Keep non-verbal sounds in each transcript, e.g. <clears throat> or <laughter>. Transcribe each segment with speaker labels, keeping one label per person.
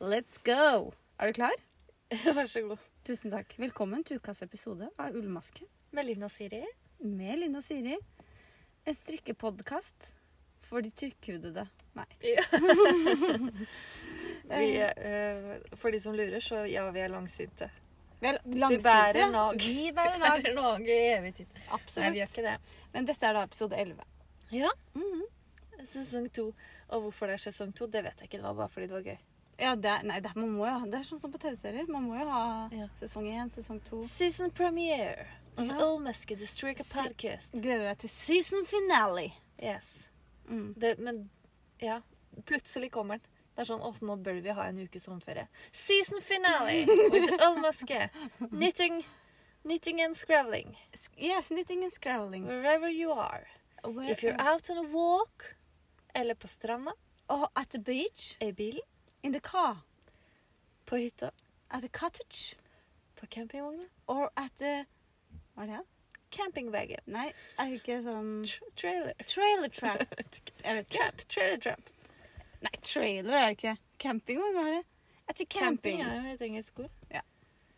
Speaker 1: Let's go! Er du klar?
Speaker 2: <laughs> Vær så god.
Speaker 1: Tusen takk. Velkommen til ukas episode av Ullmaske
Speaker 2: Melina Siri.
Speaker 1: med Linn og Siri. En strikkepodkast for de tykkhudede. Nei.
Speaker 2: Vi, eh, for de som lurer, så ja, vi er langsinte.
Speaker 1: Vel,
Speaker 2: Vi
Speaker 1: langsinte.
Speaker 2: bærer nag. <laughs>
Speaker 1: Vi bærer nag.
Speaker 2: nag i evig tid. Nei, vi gjør
Speaker 1: Absolutt.
Speaker 2: ikke det.
Speaker 1: Men dette er da episode 11.
Speaker 2: Ja.
Speaker 1: Mhm.
Speaker 2: Mm-hmm. Sesong to. Og hvorfor det er sesong to, det vet jeg ikke. Det var bare fordi det var gøy.
Speaker 1: Ja, det er, nei, det, er- man må jo, ha- det er sånn som på TV-serier. Man må jo ha
Speaker 2: Ja.
Speaker 1: sesong 1, sesong 2.
Speaker 2: Season premiere.
Speaker 1: Ja.
Speaker 2: Olmeske, The Streaker
Speaker 1: Se-
Speaker 2: Podcast.
Speaker 1: Gleder deg til season finale.
Speaker 2: Yes.
Speaker 1: Mm.
Speaker 2: Det, men ja, plutselig kommer den. Det er sånn, åh, nå bør vi ha en ukes sommerferie. Season <laughs> finale with Olmeske. Knitting, knitting and scrabbling.
Speaker 1: Sk- Yes, knitting and scrabbling.
Speaker 2: Wherever you are. If you're out on a walk, eller på stranda,
Speaker 1: Oh, at the beach.
Speaker 2: i bilen,
Speaker 1: In the car.
Speaker 2: på hytta,
Speaker 1: At a cottage.
Speaker 2: på campingvogna,
Speaker 1: Or at the Hva er det?
Speaker 2: campingvegen,
Speaker 1: Nei, er det ikke sånn
Speaker 2: tr trailer,
Speaker 1: Trailer trap. <laughs> Jeg vet ikke.
Speaker 2: trap, trailer trap.
Speaker 1: Nei, trailer er det ikke. Camping, hva er det? Etter camping.
Speaker 2: Camping er jo et engelsk ord.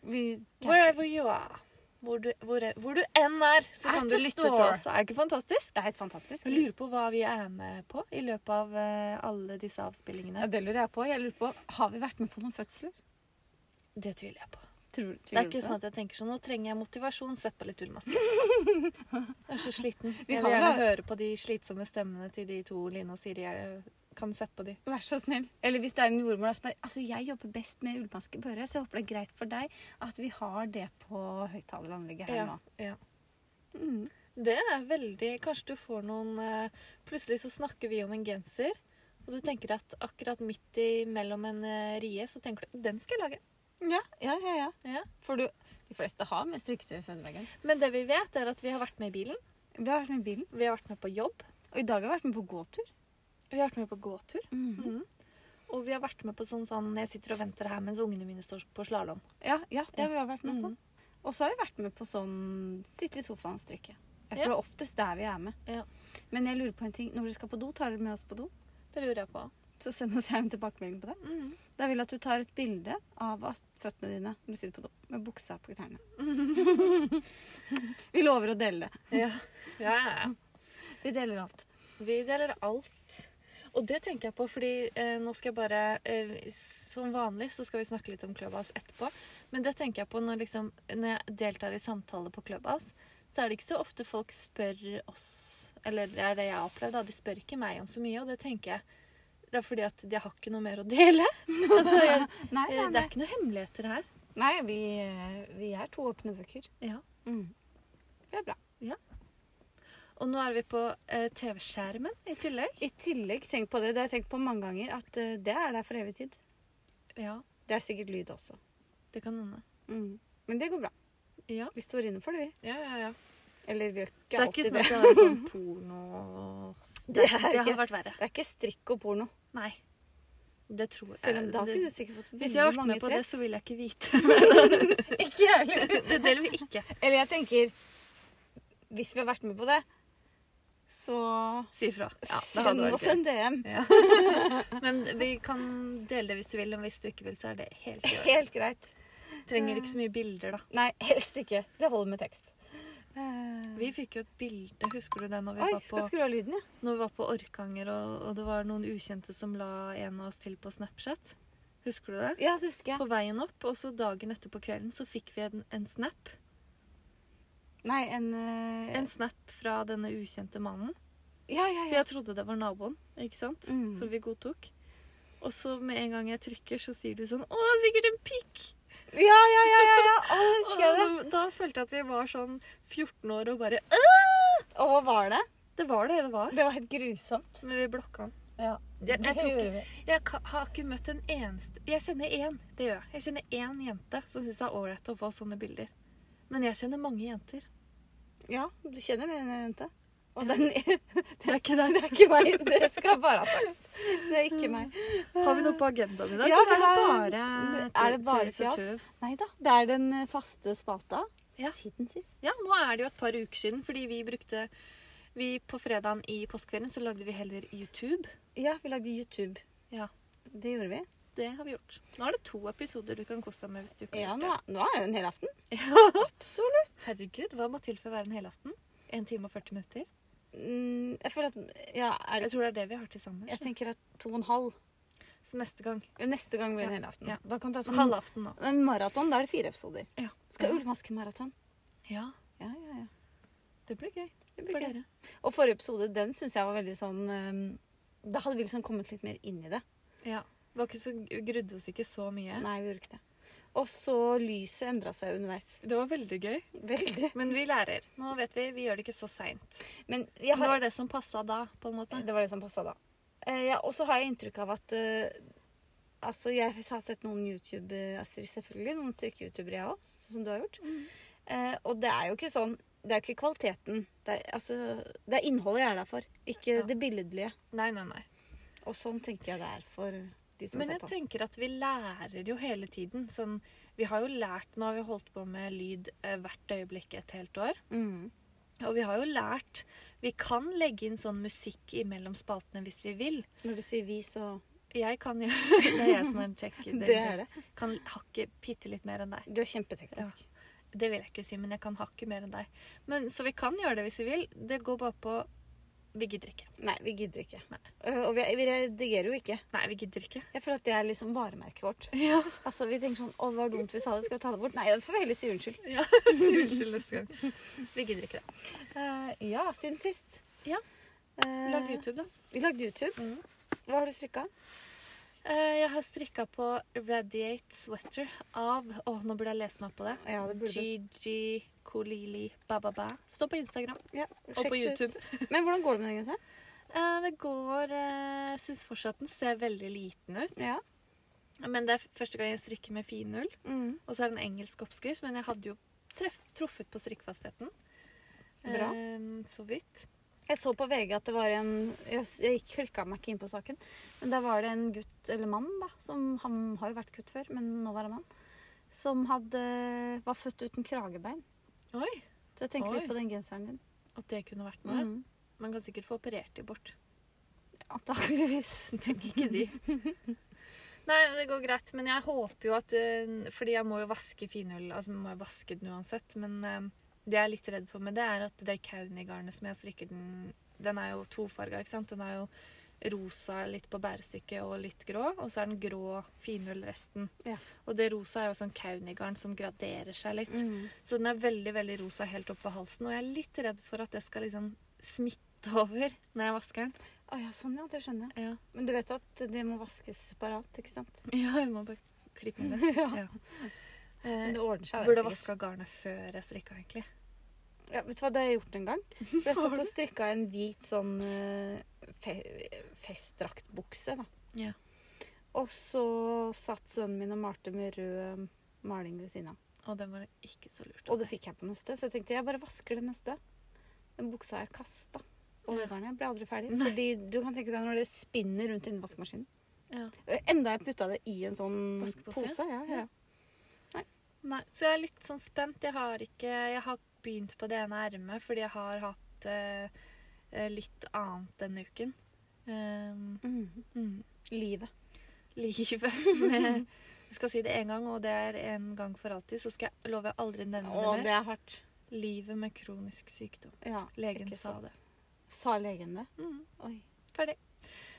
Speaker 1: Vi camp-
Speaker 2: Wherever you are. Hvor du, hvor, hvor du enn er, så
Speaker 1: At
Speaker 2: kan du
Speaker 1: the
Speaker 2: lytte til
Speaker 1: store.
Speaker 2: oss. Er det ikke fantastisk?
Speaker 1: Det er helt fantastisk.
Speaker 2: Jeg lurer på hva vi er med på i løpet av eh, alle disse
Speaker 1: Ja,
Speaker 2: avspillingene.
Speaker 1: det lurer jeg på. Jeg lurer på, Har vi vært med på noen fødsler?
Speaker 2: Det tviler jeg på.
Speaker 1: Tror,
Speaker 2: Det er ikke sånn at jeg tenker sånn Nå trenger jeg motivasjon, sett på litt ullmaske. Jeg er så sliten.
Speaker 1: Vi
Speaker 2: Jeg
Speaker 1: kan
Speaker 2: vil gjerne
Speaker 1: vel ha-
Speaker 2: høre på de slitsomme stemmene til de to Line og Siri. Jeg kan sette på de.
Speaker 1: Vær så snill. Eller hvis det er en jordmor da som er Altså, jeg jobber best med ullmaske på øret, så jeg håper det er greit for deg at vi har det på høyttaleranlegget her nå.
Speaker 2: ja.
Speaker 1: Mm.
Speaker 2: Det er veldig Kanskje du får noen eh, Plutselig så snakker vi om en genser, og du tenker at akkurat midt i mellom en eh, rie, så tenker du Den skal jeg lage.
Speaker 1: Ja, ja, ja, ja.
Speaker 2: Ja.
Speaker 1: For du De fleste har med strikketøy i fødebagen.
Speaker 2: Men det vi vet, er at vi har vært med i bilen.
Speaker 1: Vi har vært med i bilen.
Speaker 2: Vi har vært med på jobb.
Speaker 1: Og i dag har vi vært med på gåtur.
Speaker 2: Vi har vært med på gåtur.
Speaker 1: Mhm.
Speaker 2: Mhm. Og vi har vært med på sånn sånn Jeg sitter og venter her mens ungene mine står på slalåm.
Speaker 1: Ja, ja, det har vi også vært med
Speaker 2: Mhm.
Speaker 1: på. Og så har vi vært med på sånn sitte i sofaen og strikke. Jeg tror det er oftest der vi er med.
Speaker 2: Ja.
Speaker 1: Men jeg lurer på en ting. Når dere skal på do, tar dere med oss på do?
Speaker 2: Det lurer jeg på. Mm.
Speaker 1: Så send oss gjerne en tilbakemelding på det. Da vil jeg at du tar et bilde av at føttene dine når du sitter på do, med buksa på
Speaker 2: <laughs>
Speaker 1: knærne. vi lover å dele det.
Speaker 2: Ja. ja, ja.
Speaker 1: Vi deler alt.
Speaker 2: Vi deler alt. Og det tenker jeg på, fordi eh, nå skal jeg bare eh, Som vanlig så skal vi snakke litt om Clubhouse etterpå. Men det tenker jeg på når, liksom, når jeg deltar i samtaler på Clubhouse. Så er det ikke så ofte folk spør oss Eller det er det jeg har opplevd. da, De spør ikke meg om så mye, og det tenker jeg Det er fordi at jeg har ikke noe mer å dele. altså, jeg,
Speaker 1: Nei,
Speaker 2: eh, det er ikke noen hemmeligheter her.
Speaker 1: nei vi, eh, vi er to åpne bøker. Mm.
Speaker 2: Ja.
Speaker 1: Det er bra.
Speaker 2: Og nå er vi på eh, TV-skjermen i tillegg.
Speaker 1: I tillegg, tenk på det. Det har jeg tenkt på mange ganger, at eh, det er der for evig tid.
Speaker 2: Ja,
Speaker 1: Det er sikkert lyd også.
Speaker 2: det kan hende.
Speaker 1: Mm. Men det går bra.
Speaker 2: Ja.
Speaker 1: Vi står inne for det, vi.
Speaker 2: Ja, ja, ja.
Speaker 1: Eller vi gjør
Speaker 2: Det
Speaker 1: ikke
Speaker 2: er ikke
Speaker 1: alltid
Speaker 2: sånn
Speaker 1: det.
Speaker 2: at det er
Speaker 1: <laughs>
Speaker 2: sånn porno
Speaker 1: Det er ikke-
Speaker 2: hadde vært verre.
Speaker 1: Det er ikke strikk og porno.
Speaker 2: Nei. Det tror jeg
Speaker 1: Selv om da
Speaker 2: Eh, det-
Speaker 1: kunne du sikkert fått
Speaker 2: Hvis jeg
Speaker 1: veldig
Speaker 2: har vært
Speaker 1: mange
Speaker 2: med på det,
Speaker 1: treff.
Speaker 2: så vil jeg ikke vite. <laughs>
Speaker 1: <laughs> Ikke jeg heller.
Speaker 2: Det deler vi ikke.
Speaker 1: Eller jeg tenker Hvis vi har vært med på det, så
Speaker 2: Si ifra.
Speaker 1: send oss en DM.
Speaker 2: Men vi kan dele det hvis du vil, og hvis du ikke vil, så er det helt i orden.
Speaker 1: Helt eh, greit.
Speaker 2: Trenger ikke så mye bilder, da.
Speaker 1: Nei, helst ikke. Det holder med tekst. Eh,
Speaker 2: Vi fikk jo et bilde, husker du det, når vi,
Speaker 1: Oi,
Speaker 2: var,
Speaker 1: skal
Speaker 2: på,
Speaker 1: skru av lyden, ja.
Speaker 2: når vi var på Orkanger, og, og det var noen ukjente som la en av oss til på Snapchat. Husker du det?
Speaker 1: Ja, det husker jeg.
Speaker 2: På veien opp, og så dagen etter på kvelden, så fikk vi en, en snap.
Speaker 1: Nei, en, eh,
Speaker 2: En snap fra denne ukjente mannen.
Speaker 1: Ja, ja,
Speaker 2: For
Speaker 1: ja.
Speaker 2: jeg trodde det var naboen, ikke sant?
Speaker 1: Mm.
Speaker 2: Som vi godtok. Og så med en gang jeg trykker, så sier du sånn Å, sikkert en pikk!
Speaker 1: Ja, ja, ja, ja, ja. Å,
Speaker 2: Og
Speaker 1: husker jeg
Speaker 2: da,
Speaker 1: det.
Speaker 2: da følte jeg at vi var sånn 14 år og bare «Æ!»
Speaker 1: Og hva var det?
Speaker 2: Det var det det var.
Speaker 1: Det var helt grusomt.
Speaker 2: Men vi blokka han.
Speaker 1: Ja.
Speaker 2: Jeg, jeg, tror ikke,
Speaker 1: vi.
Speaker 2: jeg ka- har ikke møtt en eneste Jeg kjenner én, det gjør jeg. Jeg kjenner én jente som syns det er ålreit å få sånne bilder. Men jeg kjenner mange jenter.
Speaker 1: Ja, du kjenner min jente. Og den, <laughs> det
Speaker 2: Det er ikke det.
Speaker 1: er ikke meg. <laughs> Det skal bare ha sagt. Det er ikke meg.
Speaker 2: Har vi noe på agendaen i dag?
Speaker 1: Ja,
Speaker 2: eller
Speaker 1: vi har-
Speaker 2: er det
Speaker 1: er
Speaker 2: bare
Speaker 1: det bare
Speaker 2: tøys og
Speaker 1: fjas?
Speaker 2: tøv?
Speaker 1: Nei da. Det er den eh, faste spalta
Speaker 2: Ja.
Speaker 1: siden sist.
Speaker 2: Ja, nå er det jo et par uker siden, fordi vi brukte vi På fredagen i påskeferien så lagde vi heller YouTube.
Speaker 1: Ja, vi lagde YouTube.
Speaker 2: Ja.
Speaker 1: Det gjorde vi.
Speaker 2: det har vi gjort. Nå er det to episoder du kan kose deg med. hvis du ikke har
Speaker 1: Ja,
Speaker 2: gjort
Speaker 1: nå, nå er det en hel aften.
Speaker 2: det. <laughs>
Speaker 1: Absolutt.
Speaker 2: Herregud, hva må til for å være en helaften? En time og 40 minutter?
Speaker 1: Mm, jeg føler at Ja, er det
Speaker 2: Jeg tror det er det vi har til sammen.
Speaker 1: Jeg tenker at to og en halv
Speaker 2: Så neste gang.
Speaker 1: Neste gang blir det en hel aften.
Speaker 2: Ja.
Speaker 1: Da kan det ta sånn
Speaker 2: Halvaften, da.
Speaker 1: en maraton. Da er det fire episoder.
Speaker 2: Ja.
Speaker 1: Skal ulemaskemaraton.
Speaker 2: ja,
Speaker 1: Ja, ja, ja.
Speaker 2: det blir gøy
Speaker 1: Det
Speaker 2: for
Speaker 1: blir gøy.
Speaker 2: dere.
Speaker 1: Og forrige episode, den syns jeg var veldig sånn eh, Da hadde vi liksom kommet litt mer inn i det.
Speaker 2: Ja. Var ikke så, grudde oss ikke så mye.
Speaker 1: Nei, vi gjorde ikke det. Og så lyset endra seg underveis. <laughs>
Speaker 2: Det var veldig gøy.
Speaker 1: Veldig.
Speaker 2: Men vi lærer. Nå vet vi, vi gjør det ikke så seint.
Speaker 1: Men jeg
Speaker 2: Det
Speaker 1: har,
Speaker 2: var det som passa da, på en måte.
Speaker 1: det var det som passa da. Eh, ja, og så har jeg inntrykk av at eh, Altså, jeg har sett noen YouTube eh, Astrid selvfølgelig, noen strikke-youtubere jeg òg, som du har gjort. Eh, og det er jo ikke sånn Det er jo ikke kvaliteten. Det er, altså, det er innholdet jeg er der for, ikke
Speaker 2: Ja.
Speaker 1: det billedlige.
Speaker 2: Nei, nei, nei.
Speaker 1: Og sånn tenker jeg det er for de som
Speaker 2: Men
Speaker 1: ser
Speaker 2: jeg
Speaker 1: på.
Speaker 2: tenker at vi lærer jo hele tiden. Sånn, vi har jo lært Nå har vi holdt på med lyd eh, hvert øyeblikk et helt år.
Speaker 1: Mm.
Speaker 2: Og vi har jo lært Vi kan legge inn sånn musikk imellom spaltene hvis vi vil.
Speaker 1: Når du sier vi, så
Speaker 2: Jeg kan jo <laughs> Det er jeg som er en tech.
Speaker 1: Det er det.
Speaker 2: Kan hakke bitte litt mer enn deg.
Speaker 1: Du er kjempeteknisk.
Speaker 2: Det vil jeg ikke si, men jeg kan hakke mer enn deg. Men, så vi kan gjøre det hvis vi vil. Det går bare på Vi gidder ikke.
Speaker 1: Nei, vi gidder ikke.
Speaker 2: Nei.
Speaker 1: Eh, Og vi, vi redigerer jo ikke.
Speaker 2: Nei, vi gidder ikke.
Speaker 1: Jeg føler at det er liksom varemerket vårt.
Speaker 2: Ja.
Speaker 1: Altså, Vi tenker sånn Å, det var dumt vi sa det. Skal vi ta det bort? Nei, da får vi heller si unnskyld.
Speaker 2: <laughs> ja. Så unnskyld neste gang. Vi gidder ikke det.
Speaker 1: Eh, ja, siden sist.
Speaker 2: Ja.
Speaker 1: Eh,
Speaker 2: Lag YouTube, da.
Speaker 1: Vi lagde YouTube.
Speaker 2: Mhm.
Speaker 1: Hva har du strikka?
Speaker 2: Eh, Jeg har strikka på Radiate Sweater av Å, nå burde jeg lese meg opp på det.
Speaker 1: Ja, det burde du.
Speaker 2: Gigi Kolili Bababa. Stå på Instagram.
Speaker 1: Ja,
Speaker 2: Og
Speaker 1: sjekk
Speaker 2: på
Speaker 1: det ut.
Speaker 2: YouTube.
Speaker 1: <laughs> Men hvordan går det med den genseren?
Speaker 2: Eh, Det går eh, Jeg syns fortsatt den ser veldig liten ut.
Speaker 1: Ja.
Speaker 2: Men det er første gang jeg strikker med finull.
Speaker 1: Mm.
Speaker 2: Og så er det en engelsk oppskrift, men jeg hadde jo treff, truffet på strikkfastheten.
Speaker 1: Bra.
Speaker 2: Eh, så vidt.
Speaker 1: Jeg så på VG at det var en Jeg, jeg klikka meg ikke inn på saken. Men der var det en gutt, eller mann, da, som han har jo vært gutt før, men nå var han mann, som hadde, var født uten kragebein.
Speaker 2: Oi!
Speaker 1: Så jeg tenker
Speaker 2: Oi.
Speaker 1: litt på den genseren din.
Speaker 2: At det kunne vært noe.
Speaker 1: Mm.
Speaker 2: Man kan sikkert få operert de bort.
Speaker 1: Antakeligvis.
Speaker 2: <laughs> Tenk ikke de. Nei, det går greit, men jeg håper jo at eh, Fordi jeg må jo vaske finull. Altså må jeg vaske den uansett. Men eh, det jeg er litt redd for med det, er at det Kauni-garnet som jeg strikker den Den er jo tofarga, ikke sant? Den er jo rosa litt på bærestykket og litt grå. Og så er den grå finull resten.
Speaker 1: Ja.
Speaker 2: Og det rosa er jo sånn Kauni-garn som graderer seg litt.
Speaker 1: Mm.
Speaker 2: Så den er veldig, veldig rosa helt opp ved halsen. Og jeg er litt redd for at det skal liksom smitte over når jeg vasker den.
Speaker 1: Å ja, sånn ja. Det skjønner jeg.
Speaker 2: Ja.
Speaker 1: Men du vet at det må vaskes separat, ikke sant?
Speaker 2: Ja, jeg må bare klippe den løs.
Speaker 1: <laughs> Ja.
Speaker 2: ja. Eh,
Speaker 1: Men det ordner seg.
Speaker 2: burde
Speaker 1: det, sikkert.
Speaker 2: vaska garnet før jeg strikka, egentlig.
Speaker 1: Ja, vet du hva, det har jeg gjort en gang.
Speaker 2: <laughs>
Speaker 1: For jeg satt og strikka en hvit sånn eh, fe festdraktbukse, da.
Speaker 2: Ja.
Speaker 1: Og så satt sønnen min og malte med rød eh, maling ved siden av.
Speaker 2: Og den var ikke så lurt.
Speaker 1: Og det fikk jeg på nøstet, så jeg tenkte jeg bare vasker det nøstet. Den buksa har jeg kasta. Og det
Speaker 2: Ja.
Speaker 1: garnet ble aldri ferdig.
Speaker 2: Nei.
Speaker 1: Fordi du kan tenke deg når det spinner rundt inni vaskemaskinen.
Speaker 2: Ja.
Speaker 1: Enda jeg putta det i en sånn
Speaker 2: Vaskepose?
Speaker 1: pose. Ja, ja.
Speaker 2: Nei, så jeg er litt sånn spent. Jeg har ikke Jeg har begynt på det ene ermet fordi jeg har hatt eh, eh, litt annet denne uken. Um,
Speaker 1: Mhm.
Speaker 2: mm,
Speaker 1: Livet.
Speaker 2: livet med Jeg skal si det én gang, og det er en gang for alltid. Så skal jeg love jeg aldri nevne
Speaker 1: Å,
Speaker 2: det mer.
Speaker 1: det er hardt.
Speaker 2: Livet med kronisk sykdom.
Speaker 1: Ja,
Speaker 2: Legen
Speaker 1: ikke
Speaker 2: sa
Speaker 1: sant.
Speaker 2: det.
Speaker 1: Sa legen det?
Speaker 2: Mm.
Speaker 1: Oi.
Speaker 2: Ferdig.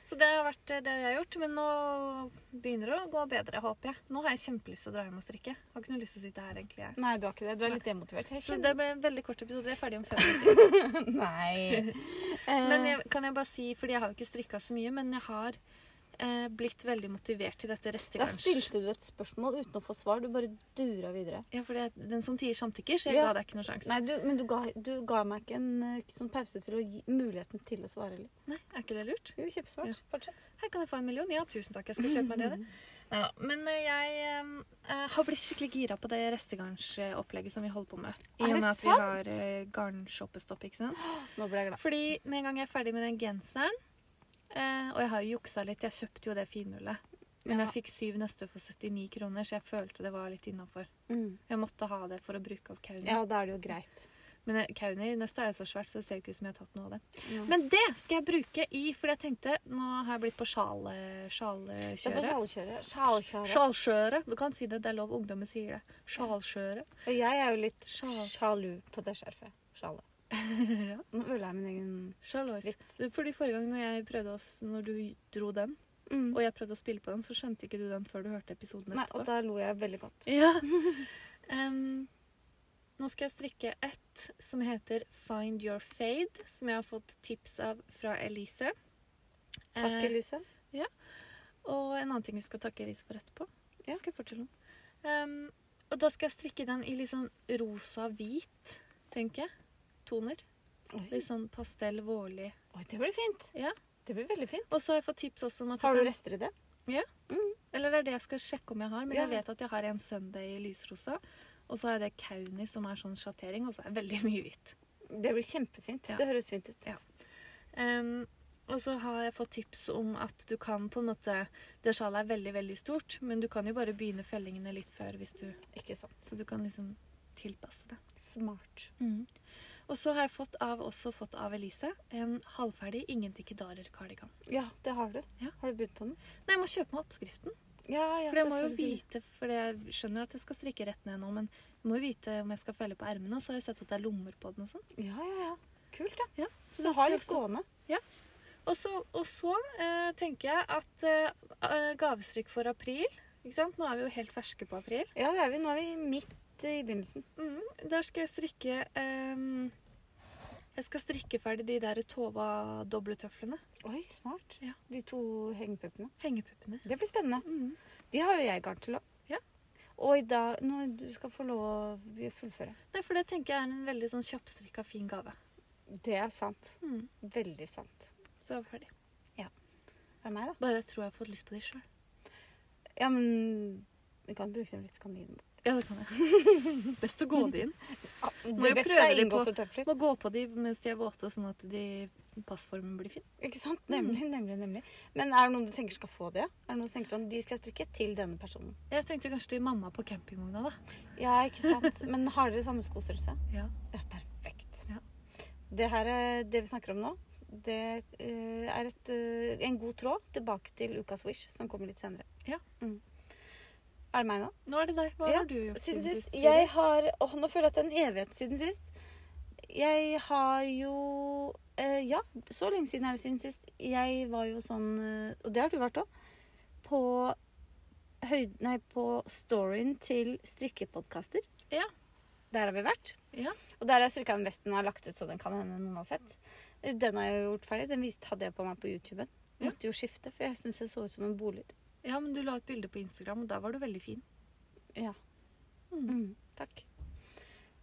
Speaker 2: Så det har vært eh, det jeg har gjort, men nå begynner det å gå bedre, håper jeg. Nå har jeg kjempelyst til å dra hjem og strikke. Har ikke noe lyst til å sitte her, egentlig. jeg.
Speaker 1: Nei, du har ikke det. Du er litt demotivert. Jeg
Speaker 2: Så
Speaker 1: kjenner
Speaker 2: det ble en veldig kort episode. Jeg er ferdig om fem minutter.
Speaker 1: <laughs> Nei. Eh.
Speaker 2: Men jeg, kan jeg bare si, fordi jeg har jo ikke strikka så mye, men jeg har eh, blitt veldig motivert til dette
Speaker 1: da
Speaker 2: restegarns...
Speaker 1: stilte du et spørsmål uten å få svar. Du bare dura videre.
Speaker 2: Ja, for det er den som tier, samtykker, så jeg
Speaker 1: Ja.
Speaker 2: ga deg ikke noen sjanse.
Speaker 1: Nei, du, men du ga, du ga meg ikke en eh, sånn pause til å gi muligheten til å svare heller.
Speaker 2: Nei, er ikke det lurt?
Speaker 1: Jo, kjempesmart.
Speaker 2: Ja.
Speaker 1: Fortsett.
Speaker 2: Her kan jeg få en million. Ja, tusen takk. Jeg skal kjøpe meg det. det. Neida, Men eh, jeg eh, har blitt skikkelig gira på det restegarnsopplegget som vi holder på med.
Speaker 1: Er
Speaker 2: I og
Speaker 1: det
Speaker 2: med at vi
Speaker 1: sant?
Speaker 2: har eh, garnshoppestopp, ikke sant.
Speaker 1: Nå ble jeg glad.
Speaker 2: Fordi med en gang jeg er ferdig med den genseren eh, Og jeg har jo juksa litt. Jeg kjøpte jo det finullet. Men
Speaker 1: Ja.
Speaker 2: jeg fikk syv nøster for 79 kroner, så jeg følte det var litt innafor.
Speaker 1: Mm.
Speaker 2: Jeg måtte ha det for å bruke opp kauen.
Speaker 1: Ja, da er det jo greit.
Speaker 2: Men eh, kauninøstet er jo så svært, så det ser jo ikke ut som jeg har tatt noe av det.
Speaker 1: Ja.
Speaker 2: Men det skal jeg bruke i, fordi jeg tenkte Nå har jeg blitt på sjal, eh,
Speaker 1: Det er på
Speaker 2: sjalkjøret.
Speaker 1: sjalkjøret. Sjalkjøret.
Speaker 2: Sjalskjøret. Du kan si det. Det er lov. Ungdommen sier det. Sjalskjøret.
Speaker 1: Og jeg er jo litt
Speaker 2: Sjal.
Speaker 1: sjalu på det skjerfet. <laughs> Sjalet.
Speaker 2: Ja.
Speaker 1: Nå ødela jeg min egen
Speaker 2: Sjalois.
Speaker 1: Vits.
Speaker 2: Fordi forrige gang når jeg prøvde å, s- Når du dro den,
Speaker 1: mm.
Speaker 2: og jeg prøvde å spille på den, så skjønte ikke du den før du hørte episoden
Speaker 1: Nei, og
Speaker 2: etterpå.
Speaker 1: da lo jeg veldig godt.
Speaker 2: <laughs> Ja. Em, nå skal jeg strikke ett som heter Find Your Fade, som jeg har fått tips av fra Elise.
Speaker 1: Takk,
Speaker 2: Eh,
Speaker 1: Elise.
Speaker 2: Og en annen ting vi skal takke Elise for etterpå.
Speaker 1: Ja.
Speaker 2: Ja. Skal jeg fortelle om. Ehm, og da skal jeg strikke den i litt sånn rosa-hvit, tenker jeg. Toner.
Speaker 1: Oi.
Speaker 2: Litt sånn pastell, vårlig.
Speaker 1: Oi, det blir fint.
Speaker 2: Ja.
Speaker 1: Det blir veldig fint.
Speaker 2: Og så har jeg fått tips også om at
Speaker 1: Har du
Speaker 2: kan-
Speaker 1: rester i det?
Speaker 2: Eller det er det jeg skal sjekke om jeg har, men
Speaker 1: Ja.
Speaker 2: jeg vet at jeg har en søndag i lysrosa. Og så har jeg det Kauni, som er sånn sjattering, og så er det veldig mye hvitt.
Speaker 1: Det blir kjempefint.
Speaker 2: Ja.
Speaker 1: Det høres fint ut.
Speaker 2: Ja. Ehm, og så har jeg fått tips om at du kan på en måte Det sjalet er veldig, veldig stort, men du kan jo bare begynne fellingene litt før, hvis du,
Speaker 1: Ikke sånn. sant.
Speaker 2: så du kan liksom tilpasse det.
Speaker 1: Smart.
Speaker 2: Og så har jeg fått av, også fått av Elise en halvferdig Ingen dikkedarer-kardigan.
Speaker 1: Ja, det har du.
Speaker 2: Ja.
Speaker 1: Har du begynt på den?
Speaker 2: Nei, jeg må kjøpe meg oppskriften.
Speaker 1: Ja, ja,
Speaker 2: For jeg må jo
Speaker 1: selvfølgelig.
Speaker 2: vite, for jeg skjønner at jeg skal strikke rett ned nå, men jeg må jo vite om jeg skal felle på ermene. Og så har jeg sett at det er lommer på den og sånn.
Speaker 1: Ja, ja, ja. Kult, da.
Speaker 2: Ja,
Speaker 1: Så
Speaker 2: det
Speaker 1: du
Speaker 2: skal
Speaker 1: har
Speaker 2: jeg
Speaker 1: litt
Speaker 2: også-
Speaker 1: gående.
Speaker 2: Og så, og så eh, tenker jeg at eh, gavestrikk for april ikke sant? Nå er vi jo helt ferske på april.
Speaker 1: Ja, det er vi. Nå er vi midt i begynnelsen.
Speaker 2: Mm, der skal jeg strikke ehm, Jeg skal strikke ferdig de der Tova dobletøflene.
Speaker 1: Oi, smart.
Speaker 2: Ja.
Speaker 1: De to hengepuppene.
Speaker 2: Hengepuppene.
Speaker 1: Det blir spennende.
Speaker 2: Mm.
Speaker 1: De har jo jeg garn til òg.
Speaker 2: Ja.
Speaker 1: Og i dag Nå du skal få lov å fullføre.
Speaker 2: Nei, for det tenker jeg er en veldig sånn kjappstrikka, fin gave.
Speaker 1: Det er sant.
Speaker 2: Mm.
Speaker 1: Veldig sant.
Speaker 2: Så er vi ferdig.
Speaker 1: Er det meg, da?
Speaker 2: Bare jeg tror jeg har fått lyst på de sjøl.
Speaker 1: Ja, men vi kan bruke dem litt, så kan vi gi dem bort.
Speaker 2: Ja, det kan jeg. <laughs> Best å gå de inn. Må
Speaker 1: Det
Speaker 2: jo
Speaker 1: beste
Speaker 2: prøve
Speaker 1: er
Speaker 2: de på-
Speaker 1: inngåtte tøfler.
Speaker 2: Må gå på de mens de er våte, sånn at de passformen blir fin.
Speaker 1: Ikke sant? Nemlig, nemlig, nemlig. Men er det noen du tenker skal få det? Er det noen du tenker sånn, De skal strikke til denne personen.
Speaker 2: Jeg tenkte kanskje til mamma på campingvogna, da.
Speaker 1: Ja, ikke sant? <laughs> Men har dere samme skostørrelse?
Speaker 2: Ja.
Speaker 1: Det er perfekt.
Speaker 2: Ja.
Speaker 1: Det her er det vi snakker om nå. Det eh, er et, eh, en god tråd tilbake til ukas Wish, som kommer litt senere.
Speaker 2: Ja.
Speaker 1: Mm. Er det meg nå?
Speaker 2: Nå er det deg. Hva
Speaker 1: Ja,
Speaker 2: har du gjort
Speaker 1: Siden sist?
Speaker 2: Siri?
Speaker 1: Jeg har Åh, nå føler jeg at det er en evighet siden sist. Jeg har jo eh, Ja, så lenge siden er det siden sist. Jeg var jo sånn eh, Og det har du vært òg. På høyd... Nei, på storyen til strikkepodkaster.
Speaker 2: Ja.
Speaker 1: Der har vi vært.
Speaker 2: Ja.
Speaker 1: Og der har jeg strikka den vesten jeg har lagt ut, så den kan hende noen har sett. Eh, Den har jeg gjort ferdig. Den viste, hadde jeg på meg på YouTuben.
Speaker 2: Ja.
Speaker 1: Måtte jo skifte, for jeg syns jeg så ut som en bolig.
Speaker 2: Ja, men du la et bilde på Instagram, og da var du veldig fin.
Speaker 1: Ja.
Speaker 2: Mm.
Speaker 1: Mm, takk.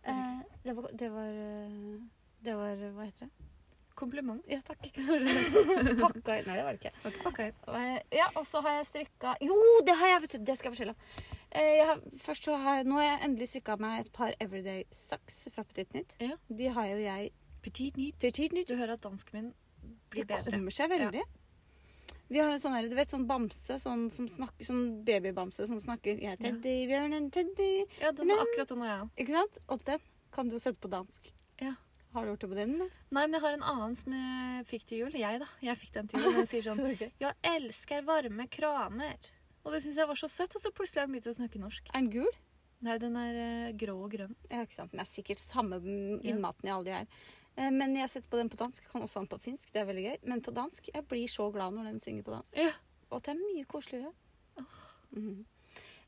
Speaker 1: Eh, det, var, det var eh, Det var Hva heter det?
Speaker 2: Kompliment.
Speaker 1: Ja, takk.
Speaker 2: Var <laughs> det det?
Speaker 1: Pakka i Nei, det var det ikke.
Speaker 2: Ok, ok.
Speaker 1: Eh, Ja, og så har jeg strikka Jo, det har jeg! vet du, Det skal jeg fortelle om. Eh, Jeg har, først så har jeg, nå har jeg endelig strikka meg et par Everyday Socks fra Petit Nytt.
Speaker 2: Ja.
Speaker 1: De har jo jeg
Speaker 2: Petit nit.
Speaker 1: Petit Nytt
Speaker 2: Du hører at dansken min blir
Speaker 1: det
Speaker 2: bedre.
Speaker 1: kommer seg veldig. Vi har en sånn her, du vet, sånn bamse, sånn, som snakker, sånn babybamse som snakker 'Jeg er Teddy, bjørnen Teddy'.
Speaker 2: Ja, den er akkurat den er jeg.
Speaker 1: Ikke sant? Og den kan du sette på dansk.
Speaker 2: Ja.
Speaker 1: Har du gjort det på den?
Speaker 2: <laughs>
Speaker 1: eller?
Speaker 2: Nei, men jeg har en annen som jeg fikk til jul. Jeg, da. Jeg fikk den til jul. Den sier sånn <laughs>
Speaker 1: Så gøy.
Speaker 2: Jeg elsker varme kraner. Og det syns jeg var så søtt, og så plutselig har den begynt å snakke norsk.
Speaker 1: Er den gul?
Speaker 2: Nei, den er eh, grå og grønn.
Speaker 1: Ja, ikke sant. Den er sikkert samme innmaten i alle de her. Eh, Men jeg setter på den på dansk. Kan også ha den på finsk. Det er veldig gøy. Men på dansk Jeg blir så glad når den synger på dansk.
Speaker 2: Ja.
Speaker 1: Og at det er mye koseligere. Mhm.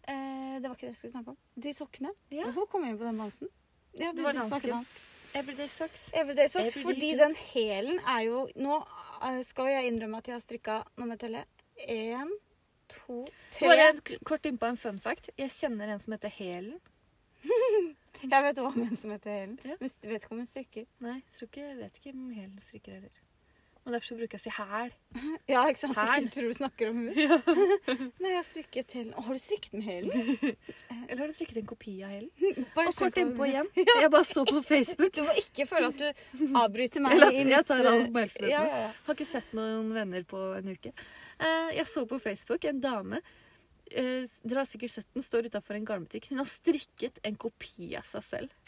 Speaker 1: Eh, det var ikke det jeg skulle snakke om. De sokkene.
Speaker 2: Ja.
Speaker 1: Hvorfor kom jeg inn på den bamsen? Ja,
Speaker 2: Det
Speaker 1: vi
Speaker 2: var
Speaker 1: begynte å snakke
Speaker 2: dansken.
Speaker 1: dansk.
Speaker 2: Everyday socks.
Speaker 1: Everyday socks,
Speaker 2: Everyday
Speaker 1: fordi
Speaker 2: socks.
Speaker 1: den hælen er jo Nå eh, skal jeg innrømme at jeg har strikka Nå må jeg telle. Én, to, tre
Speaker 2: Bare en, k- kort innpå en fun fact. Jeg kjenner en som heter Helen.
Speaker 1: Jeg vet hva om en som heter Helen.
Speaker 2: Ja.
Speaker 1: Hun st- vet ikke om hun strikker.
Speaker 2: Nei, jeg tror ikke, jeg vet ikke om Helen strikker heller. Men derfor så bruker jeg å si hæl.
Speaker 1: Ja, ikke sant? Så
Speaker 2: Hæl.
Speaker 1: ikke du tror du snakker om
Speaker 2: <laughs>
Speaker 1: hun. <laughs> Nei, jeg har strikket Helen. Å, har du strikket med Helen?
Speaker 2: Eller har du strikket en kopi av Helen?
Speaker 1: Bare
Speaker 2: Og kort
Speaker 1: skjønn hva
Speaker 2: innpå
Speaker 1: du- <laughs>
Speaker 2: igjen. Jeg bare så på Facebook.
Speaker 1: Du må ikke føle
Speaker 2: <laughs>
Speaker 1: at du avbryter meg.
Speaker 2: Eller at
Speaker 1: i
Speaker 2: jeg
Speaker 1: mitt,
Speaker 2: tar
Speaker 1: eh,
Speaker 2: all oppmerksomheten.
Speaker 1: Ja, ja, ja.
Speaker 2: Har ikke sett noen venner på en uke. Eh, Jeg så på Facebook en dame eh, Dere har sikkert sett den står utafor en garnbutikk. Hun har strikket en kopi av seg selv.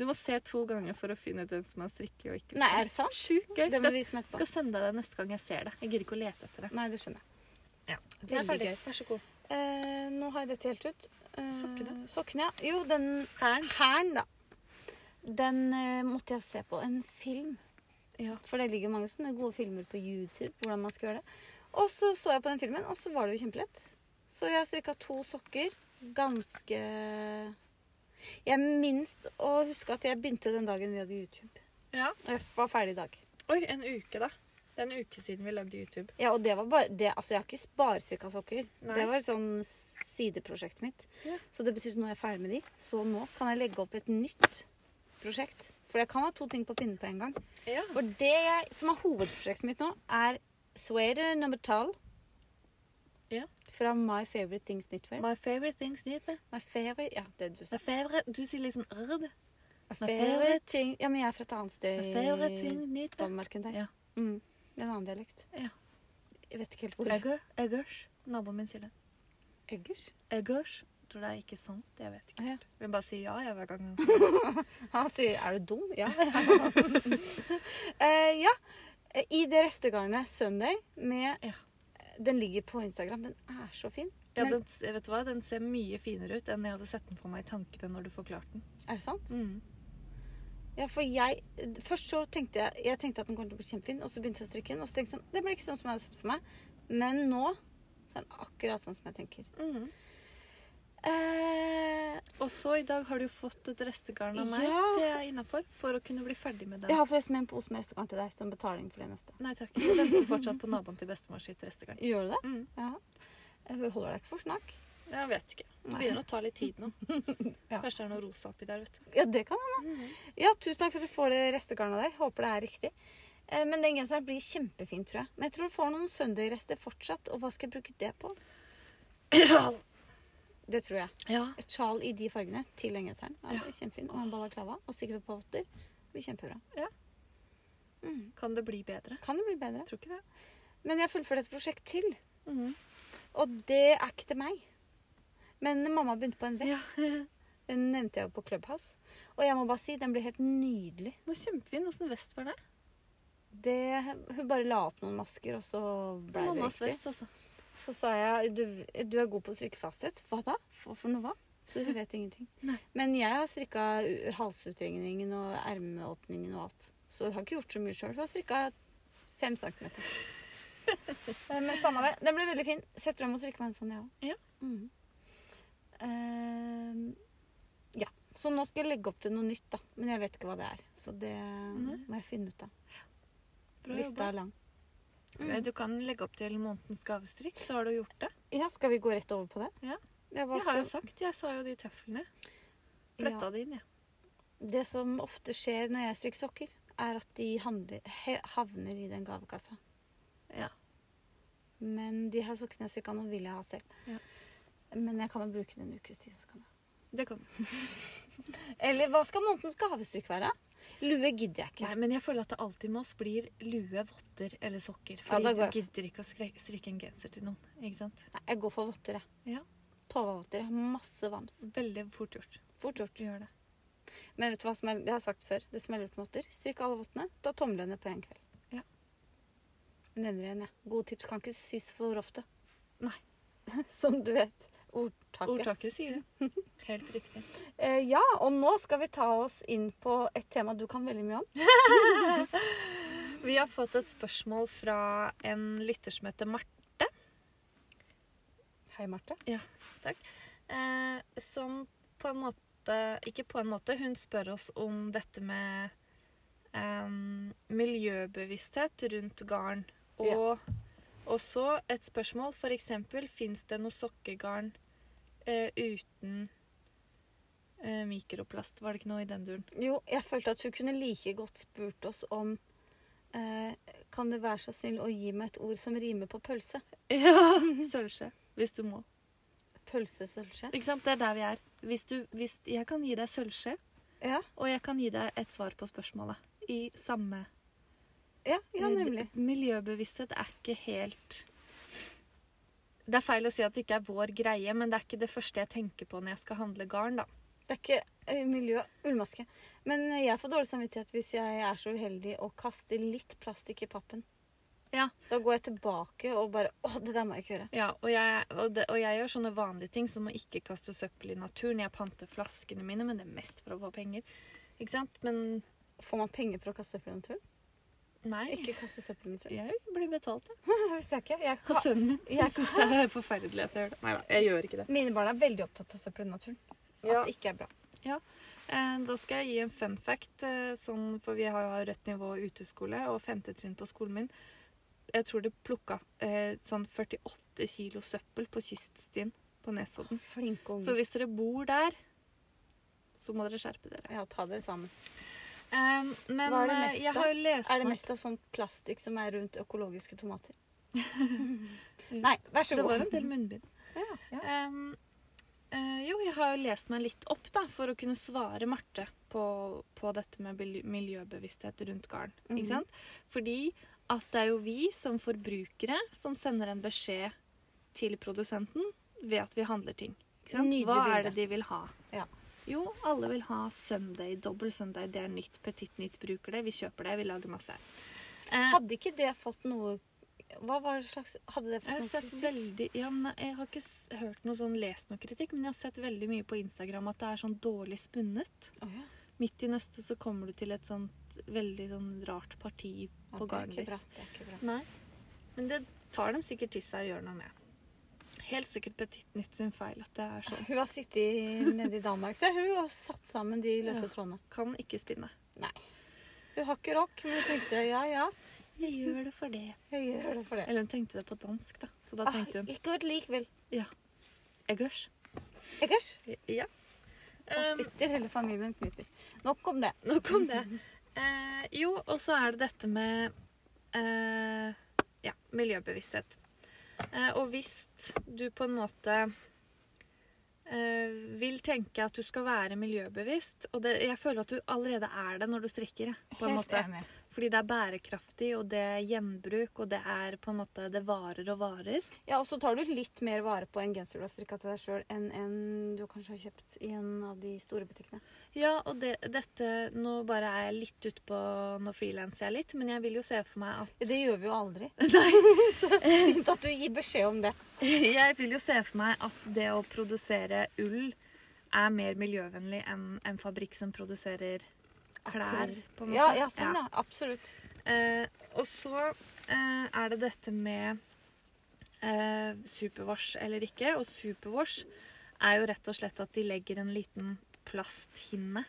Speaker 2: Du må se to ganger for å finne ut hvem som er strikke og ikke.
Speaker 1: Nei, er det sant?
Speaker 2: Sjukt gøy.
Speaker 1: Det må
Speaker 2: Skal,
Speaker 1: vi vise meg etterpå.
Speaker 2: skal sende deg det neste gang jeg ser det. Jeg gidder ikke å lete etter det.
Speaker 1: Nei, det skjønner jeg.
Speaker 2: Den er
Speaker 1: Veldig
Speaker 2: ferdig.
Speaker 1: gøy.
Speaker 2: Vær så god.
Speaker 1: Eh, nå har jeg dette helt ut. Eh,
Speaker 2: Sokkene?
Speaker 1: Sokkene, ja. Jo, den
Speaker 2: Hæren.
Speaker 1: hæren, da. Den eh, måtte jeg se på en film.
Speaker 2: Ja.
Speaker 1: For det ligger mange sånne gode filmer på YouTube. hvordan man skal gjøre det. Og så så jeg på den filmen, og så var det jo kjempelett. Så jeg strikka to sokker. Ganske Jeg minst å huske at jeg begynte den dagen vi hadde YouTube.
Speaker 2: Ja.
Speaker 1: Og jeg var ferdig i dag.
Speaker 2: Oi, en uke, da. Det er en uke siden vi lagde YouTube.
Speaker 1: Ja, og det var bare det, Altså, jeg har ikke bare strikka sokker.
Speaker 2: Nei.
Speaker 1: Det var et sånn sideprosjektet mitt.
Speaker 2: Ja.
Speaker 1: Så det betyr at nå er jeg ferdig med de. Så nå kan jeg legge opp et nytt prosjekt. For jeg kan ha to ting på pinnen på en gang.
Speaker 2: Ja.
Speaker 1: For det jeg, som er hovedprosjektet mitt nå, er sweater nummer 12
Speaker 2: Ja.
Speaker 1: Fra My Favorite Things Knitwear.
Speaker 2: My favorite things, Nipe.
Speaker 1: My favorite Ja, det du sa.
Speaker 2: My favorite Du sier liksom rd.
Speaker 1: My
Speaker 2: my
Speaker 1: favorite
Speaker 2: favorite-
Speaker 1: thing Ja, men jeg er fra et annet
Speaker 2: My
Speaker 1: sted
Speaker 2: favorite
Speaker 1: i
Speaker 2: thing, Nipe.
Speaker 1: Danmark enn deg.
Speaker 2: Ja.
Speaker 1: Mm. Det er en annen dialekt.
Speaker 2: Ja.
Speaker 1: Jeg vet ikke helt hvor.
Speaker 2: Eggers. Eggers. Naboen min sier det.
Speaker 1: Eggers?
Speaker 2: Eggers. Jeg tror det er ikke sant. Jeg vet ikke.
Speaker 1: Å, ja.
Speaker 2: Men bare si ja jeg, hver gang han sier det.
Speaker 1: Han sier 'er du dum?' Ja. Eh, ja. I det restegarnet Sunday med
Speaker 2: Ja.
Speaker 1: Den ligger på Instagram. Den er så fin.
Speaker 2: Ja,
Speaker 1: Men-
Speaker 2: den, vet du hva? Den ser mye finere ut enn jeg hadde sett den for meg i tankene når du forklarte den.
Speaker 1: Er det sant?
Speaker 2: Mm.
Speaker 1: Ja, for jeg Først så tenkte jeg Jeg tenkte at den kom til å bli kjempefin, og så begynte jeg å strikke den, og så tenkte jeg sånn Det ble ikke sånn som jeg hadde sett for meg. Men nå så er den akkurat sånn som jeg tenker. Eh,
Speaker 2: Mm. Og så i dag har du fått et restegarn av meg.
Speaker 1: Ja.
Speaker 2: Det er innafor. For å kunne bli ferdig med den.
Speaker 1: jeg har forresten med en pose med restegarn til deg som betaling for det neste.
Speaker 2: Nei takk. Jeg venter fortsatt på naboen til bestemor sitt restegarn.
Speaker 1: Gjør du det?
Speaker 2: Mm.
Speaker 1: Ja. Jeg holder deg ikke for snakk.
Speaker 2: Jeg vet ikke. Det
Speaker 1: Nei.
Speaker 2: begynner å ta litt tid <laughs> nå.
Speaker 1: Ja.
Speaker 2: Kanskje det er noe rosa oppi der, <clears throat> vet du.
Speaker 1: Ja, det kan hende. Ja, tusen takk for at du får det restegarnet der. Håper det er riktig. Eh, Men den genseren blir kjempefin, tror jeg. Men jeg tror du får noen søndagrester fortsatt. Og hva skal jeg bruke det på? Det tror jeg.
Speaker 2: Ja.
Speaker 1: Et sjal i de fargene til den genseren. Ja, det
Speaker 2: Ja.
Speaker 1: blir kjempefin. Og en balaklava. Og sikkert et par votter. Det blir kjempebra.
Speaker 2: Kan det bli bedre?
Speaker 1: Kan det bli bedre.
Speaker 2: Tror ikke det.
Speaker 1: Men jeg fullførte et prosjekt til.
Speaker 2: Mhm.
Speaker 1: Og det er ikke til meg. Men mamma begynte på en vest.
Speaker 2: Ja. Den
Speaker 1: Den nevnte jeg jo på Clubhouse. Og jeg må bare si, den ble helt nydelig.
Speaker 2: var kjempefin. Åssen vest var det?
Speaker 1: Det, hun bare la opp noen masker, og så ble det
Speaker 2: Mammas
Speaker 1: riktig.
Speaker 2: vest, altså.
Speaker 1: Så sa jeg du, du er god på å strikke fasthet. Hva da? For, for noe hva? Så hun vet ingenting.
Speaker 2: Nei.
Speaker 1: Men jeg har strikka u- halsutringningen og ermeåpningen og alt. Så hun har ikke gjort så mye sjøl. Hun har strikka fem centimeter.
Speaker 2: <laughs>
Speaker 1: Eh, Men samme det. Den ble veldig fin. Så jeg tror jeg må strikke meg en sånn, jeg òg.
Speaker 2: Ja.
Speaker 1: Mm. Eh, ja. Så nå skal jeg legge opp til noe nytt, da. Men jeg vet ikke hva det er. Så det
Speaker 2: Nei.
Speaker 1: må jeg finne ut av.
Speaker 2: Bra
Speaker 1: Lista
Speaker 2: jobba. Mm.
Speaker 1: er lang.
Speaker 2: Men Du kan legge opp til månedens gavestrikk, så har du gjort det.
Speaker 1: Ja, skal vi gå rett over på det?
Speaker 2: Ja.
Speaker 1: Jeg,
Speaker 2: Jeg har jo sagt, jeg sa jo de tøflene. Fletta de inn, jeg.
Speaker 1: Det som ofte skjer når jeg strikker sokker, er at de handler, he- havner i den gavekassa.
Speaker 2: Ja.
Speaker 1: Men de her sokkene jeg strikka nå, vil jeg ha selv.
Speaker 2: Ja.
Speaker 1: Men jeg kan jo bruke den en ukes tid. Så kan jeg.
Speaker 2: Det kan
Speaker 1: Eller hva skal månedens gavestrikk være? Lue gidder jeg ikke.
Speaker 2: Nei, men jeg føler at det alltid med oss blir lue, votter eller sokker.
Speaker 1: Ja,
Speaker 2: Fordi
Speaker 1: da går jeg
Speaker 2: du gidder ikke å skre- strikke en genser til noen. ikke sant?
Speaker 1: Nei, jeg går for votter, jeg.
Speaker 2: Ja.
Speaker 1: Tova-votter. jeg. Masse vams.
Speaker 2: Veldig fort gjort.
Speaker 1: Fort gjort.
Speaker 2: Du gjør det.
Speaker 1: Men vet du hva som er, det har jeg sagt før? Det smeller på votter. Strikk alle vottene. Da tomler jeg ned på én kveld.
Speaker 2: Ja.
Speaker 1: Jeg nevner igjen, jeg. Gode tips kan ikke sies for ofte.
Speaker 2: Nei.
Speaker 1: <laughs> Som du vet. Ordtaket.
Speaker 2: Ordtaket sier det. <laughs> Helt riktig.
Speaker 1: Eh, ja, og nå skal vi ta oss inn på et tema du kan veldig mye om.
Speaker 2: Vi har fått et spørsmål fra en lytter som heter Marte.
Speaker 1: Hei, Marte.
Speaker 2: Eh, som på en måte Ikke på en måte, hun spør oss om dette med eh, miljøbevissthet rundt garn. Og, og så et spørsmål, f.eks.: Fins det noe sokkegarn eh, uten eh, mikroplast? Var det ikke noe i den duren?
Speaker 1: Jo, jeg følte at hun kunne like godt spurt oss om eh, Kan du være så snill å gi meg et ord som rimer på pølse?
Speaker 2: <laughs> Ja! Sølvskje. Hvis du må.
Speaker 1: Pølsesølvskje?
Speaker 2: Ikke sant? Det er der vi er. Hvis du, hvis, jeg kan gi deg sølvskje,
Speaker 1: Ja,
Speaker 2: og jeg kan gi deg et svar på spørsmålet. I samme
Speaker 1: ja, ja,
Speaker 2: Eh, d-
Speaker 1: nemlig.
Speaker 2: Miljøbevissthet er ikke helt Det er feil å si at det ikke er vår greie, men det er ikke det første jeg tenker på når jeg skal handle garn, da.
Speaker 1: Det er ikke eh, miljø ullmaske. Men eh, jeg får dårlig samvittighet hvis jeg er så uheldig og kaster litt plastikk i pappen.
Speaker 2: Ja.
Speaker 1: Da går jeg tilbake og bare Å, det der må jeg ikke gjøre.
Speaker 2: Ja, og jeg, og, det, og jeg gjør sånne vanlige ting som å ikke kaste søppel i naturen. Jeg panter flaskene mine, men det er mest for å få penger. Ikke sant? Men
Speaker 1: Får man penger for å kaste søppel i naturen?
Speaker 2: nei.
Speaker 1: Ikke kaste søppel i naturen.
Speaker 2: Jeg blir betalt, jeg.
Speaker 1: Det visste jeg ikke. Jeg
Speaker 2: Og
Speaker 1: ka
Speaker 2: sønnen min
Speaker 1: jeg
Speaker 2: som syns det er forferdelig at jeg gjør det. Neida, jeg gjør ikke det.
Speaker 1: Mine barn er veldig opptatt av søppel i naturen. At
Speaker 2: Ja.
Speaker 1: det ikke er bra.
Speaker 2: Eh, Da skal jeg gi en fun fact, eh, sånn, for vi har jo rødt nivå uteskole og femte trinn på skolen min. Jeg tror det plukka eh, sånn 48 kilo søppel på kyststien på
Speaker 1: Mm.
Speaker 2: Nesodden.
Speaker 1: Flinke
Speaker 2: Så
Speaker 1: unger.
Speaker 2: hvis dere bor der, så må dere skjerpe dere.
Speaker 1: Ja, ta dere sammen.
Speaker 2: Eh, men
Speaker 1: Hva er det
Speaker 2: eh,
Speaker 1: meste?
Speaker 2: jeg har jo lest
Speaker 1: Er det
Speaker 2: meg-
Speaker 1: mest av sånn plastikk som er rundt økologiske <laughs> tomater? Mm.
Speaker 2: Ja.
Speaker 1: Nei, vær så
Speaker 2: Det
Speaker 1: god.
Speaker 2: var en del munnbind.
Speaker 1: Ja, ja.
Speaker 2: Ehm, eh, jo, jeg har jo lest meg litt opp da, for å kunne svare Marte på, på dette med bil- miljøbevissthet rundt garn.
Speaker 1: Mhm.
Speaker 2: Ikke sant? Fordi at det er jo vi som forbrukere som sender en beskjed til produsenten ved at vi handler ting. Ikke sant?
Speaker 1: Nydelig
Speaker 2: Hva er
Speaker 1: bilde.
Speaker 2: det de vil ha?
Speaker 1: Ja.
Speaker 2: Jo, alle vil ha Sunday, dobbel Sunday. Det er nytt, Petit Nytt bruker det. Vi kjøper det, vi lager masse. Eh,
Speaker 1: <laughs> Hadde ikke det fått noe Hva var det slags Hadde det
Speaker 2: Jeg
Speaker 1: fått
Speaker 2: har
Speaker 1: noe
Speaker 2: sett
Speaker 1: kritikk?
Speaker 2: veldig ja, men jeg- Jeg har ikke s- hørt noe sånn, lest noe kritikk, men jeg har sett veldig mye på Instagram at det er sånn dårlig spunnet.
Speaker 1: Å ja.
Speaker 2: Midt i nøstet så kommer du til et sånt veldig sånn rart parti
Speaker 1: Ja, det
Speaker 2: på
Speaker 1: er
Speaker 2: garnet
Speaker 1: ikke
Speaker 2: ditt.
Speaker 1: bra. Det er ikke bra.
Speaker 2: Nei. Men det tar dem sikkert til seg og gjør noe med. Helt sikkert Petit Nytt sin feil at det er sånn.
Speaker 1: Hun har sittet nede i Danmark der hun og satt sammen de løse
Speaker 2: Ja.
Speaker 1: trådene.
Speaker 2: Kan ikke spinne.
Speaker 1: Hun har ikke rock, men hun tenkte ja, ja,
Speaker 2: Jeg gjør det for det.
Speaker 1: jeg gjør det for det.
Speaker 2: Eller hun tenkte det på dansk, da. Så da tenkte hun
Speaker 1: Ah, ikke godt likevel.
Speaker 2: Eggers.
Speaker 1: Eggers.
Speaker 2: Ja.
Speaker 1: Og sitter hele familien knytter. Nok om det.
Speaker 2: Nok om det. Eh, jo, og så er det dette med eh, ja, miljøbevissthet. Eh, og hvis du på en måte eh, vil tenke at du skal være miljøbevisst Og det, jeg føler at du allerede er det når du strikker. jeg, På en måte.
Speaker 1: enig.
Speaker 2: Fordi det er bærekraftig, og det er gjenbruk, og det er på en måte Det varer og varer.
Speaker 1: Ja, og så tar du litt mer vare på en genser du har strikka til deg sjøl, enn en du kanskje har kjøpt i en av de store butikkene.
Speaker 2: Ja, og det, dette Nå bare er jeg litt ute på Nå frilanser jeg litt, men jeg vil jo se for meg at
Speaker 1: Det gjør vi jo aldri. <laughs>
Speaker 2: Nei.
Speaker 1: Fint at du gir beskjed om det.
Speaker 2: <laughs> Jeg vil jo se for meg at det å produsere ull er mer miljøvennlig enn en fabrikk som produserer klær, på en måte.
Speaker 1: Ja, ja, sånn, ja. Absolutt.
Speaker 2: Eh, og så eh, er det dette med eh, superwash eller ikke. Og superwash er jo rett og slett at de legger en liten plasthinne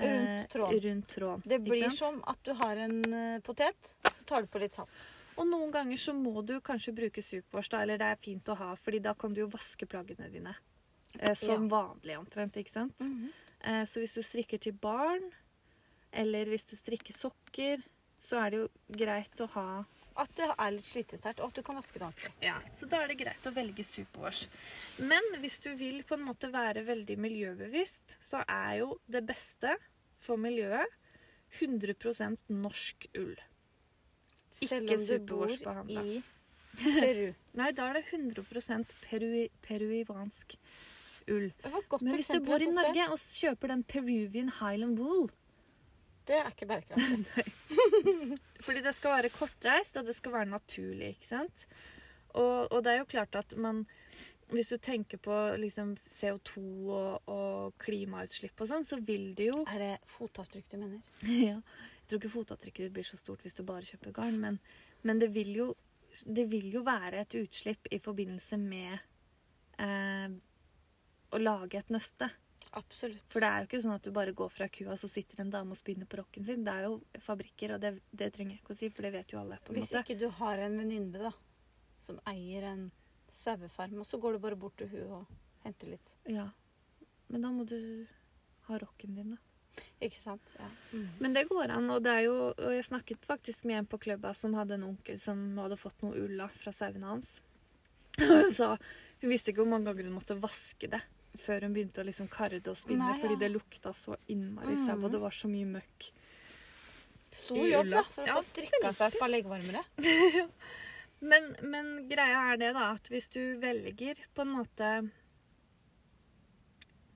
Speaker 2: eh,
Speaker 1: Rundt tråden.
Speaker 2: rundt tråden,
Speaker 1: Det
Speaker 2: ikke
Speaker 1: blir
Speaker 2: sant?
Speaker 1: som at du har en eh, potet, så tar du på litt salt.
Speaker 2: Og noen ganger så må du kanskje bruke superwash, da, eller det er fint å ha, fordi da kan du jo vaske plaggene dine. Eh, som vanlig omtrent, ikke sant?
Speaker 1: Mm. Mhm.
Speaker 2: Eh, så hvis du strikker til barn, eller hvis du strikker sokker, så er det jo greit å ha
Speaker 1: At det er litt slitesterkt, og at du kan vaske det ordentlig.
Speaker 2: ja, Så da er det greit å velge superwash. Men hvis du vil på en måte være veldig miljøbevisst, så er jo det beste for miljøet 100 norsk ull. Ikke
Speaker 1: Selv om du bor
Speaker 2: superwashbehandla.
Speaker 1: i Peru.
Speaker 2: Nei, da er det 100 peru peruivansk ull.
Speaker 1: Det var et <laughs> godt
Speaker 2: Men hvis du
Speaker 1: eksempel
Speaker 2: bor
Speaker 1: jeg
Speaker 2: i
Speaker 1: tok der.
Speaker 2: Norge og kjøper den Peruvian Highland Wool
Speaker 1: Det er ikke bærekraftig.
Speaker 2: Fordi det skal være kortreist, og det skal være naturlig, ikke sant? Og, og det er jo klart at man Hvis du tenker på liksom CO2 og, og klimautslipp og sånn, så vil det jo
Speaker 1: Er det fotavtrykk du mener?
Speaker 2: <laughs> ja, Jeg tror ikke fotavtrykket ditt blir så stort hvis du bare kjøper garn, men, men det, vil jo, det vil jo være et utslipp i forbindelse med eh, å lage et nøste.
Speaker 1: Absolutt.
Speaker 2: For det er jo ikke sånn at du bare går fra kua, så sitter en dame og spinner på rocken sin. Det er jo fabrikker, og det, det trenger jeg ikke å si, for det vet jo alle. på en
Speaker 1: Hvis
Speaker 2: måte.
Speaker 1: ikke du har en venninne da, som eier en sauefarm, og så går du bare bort til hun og henter litt.
Speaker 2: Ja. Men da må du ha rocken din, da.
Speaker 1: Ikke sant? Ja.
Speaker 2: Men det går an, og det er jo Og jeg snakket faktisk med en på klubba som hadde en onkel som hadde fått noe ull da fra sauene hans. <laughs> Og hun sa Hun visste ikke hvor mange ganger hun måtte vaske det før hun begynte å liksom karre det og spinne,
Speaker 1: Nei, ja.
Speaker 2: fordi det lukta så innmari sau,
Speaker 1: Mhm.
Speaker 2: og det var så mye møkk.
Speaker 1: Stor
Speaker 2: I
Speaker 1: jobb
Speaker 2: ulla.
Speaker 1: da, for å
Speaker 2: Ja,
Speaker 1: få strikka seg et par leggvarmere.
Speaker 2: Men, men greia er det, da, at hvis du velger på en måte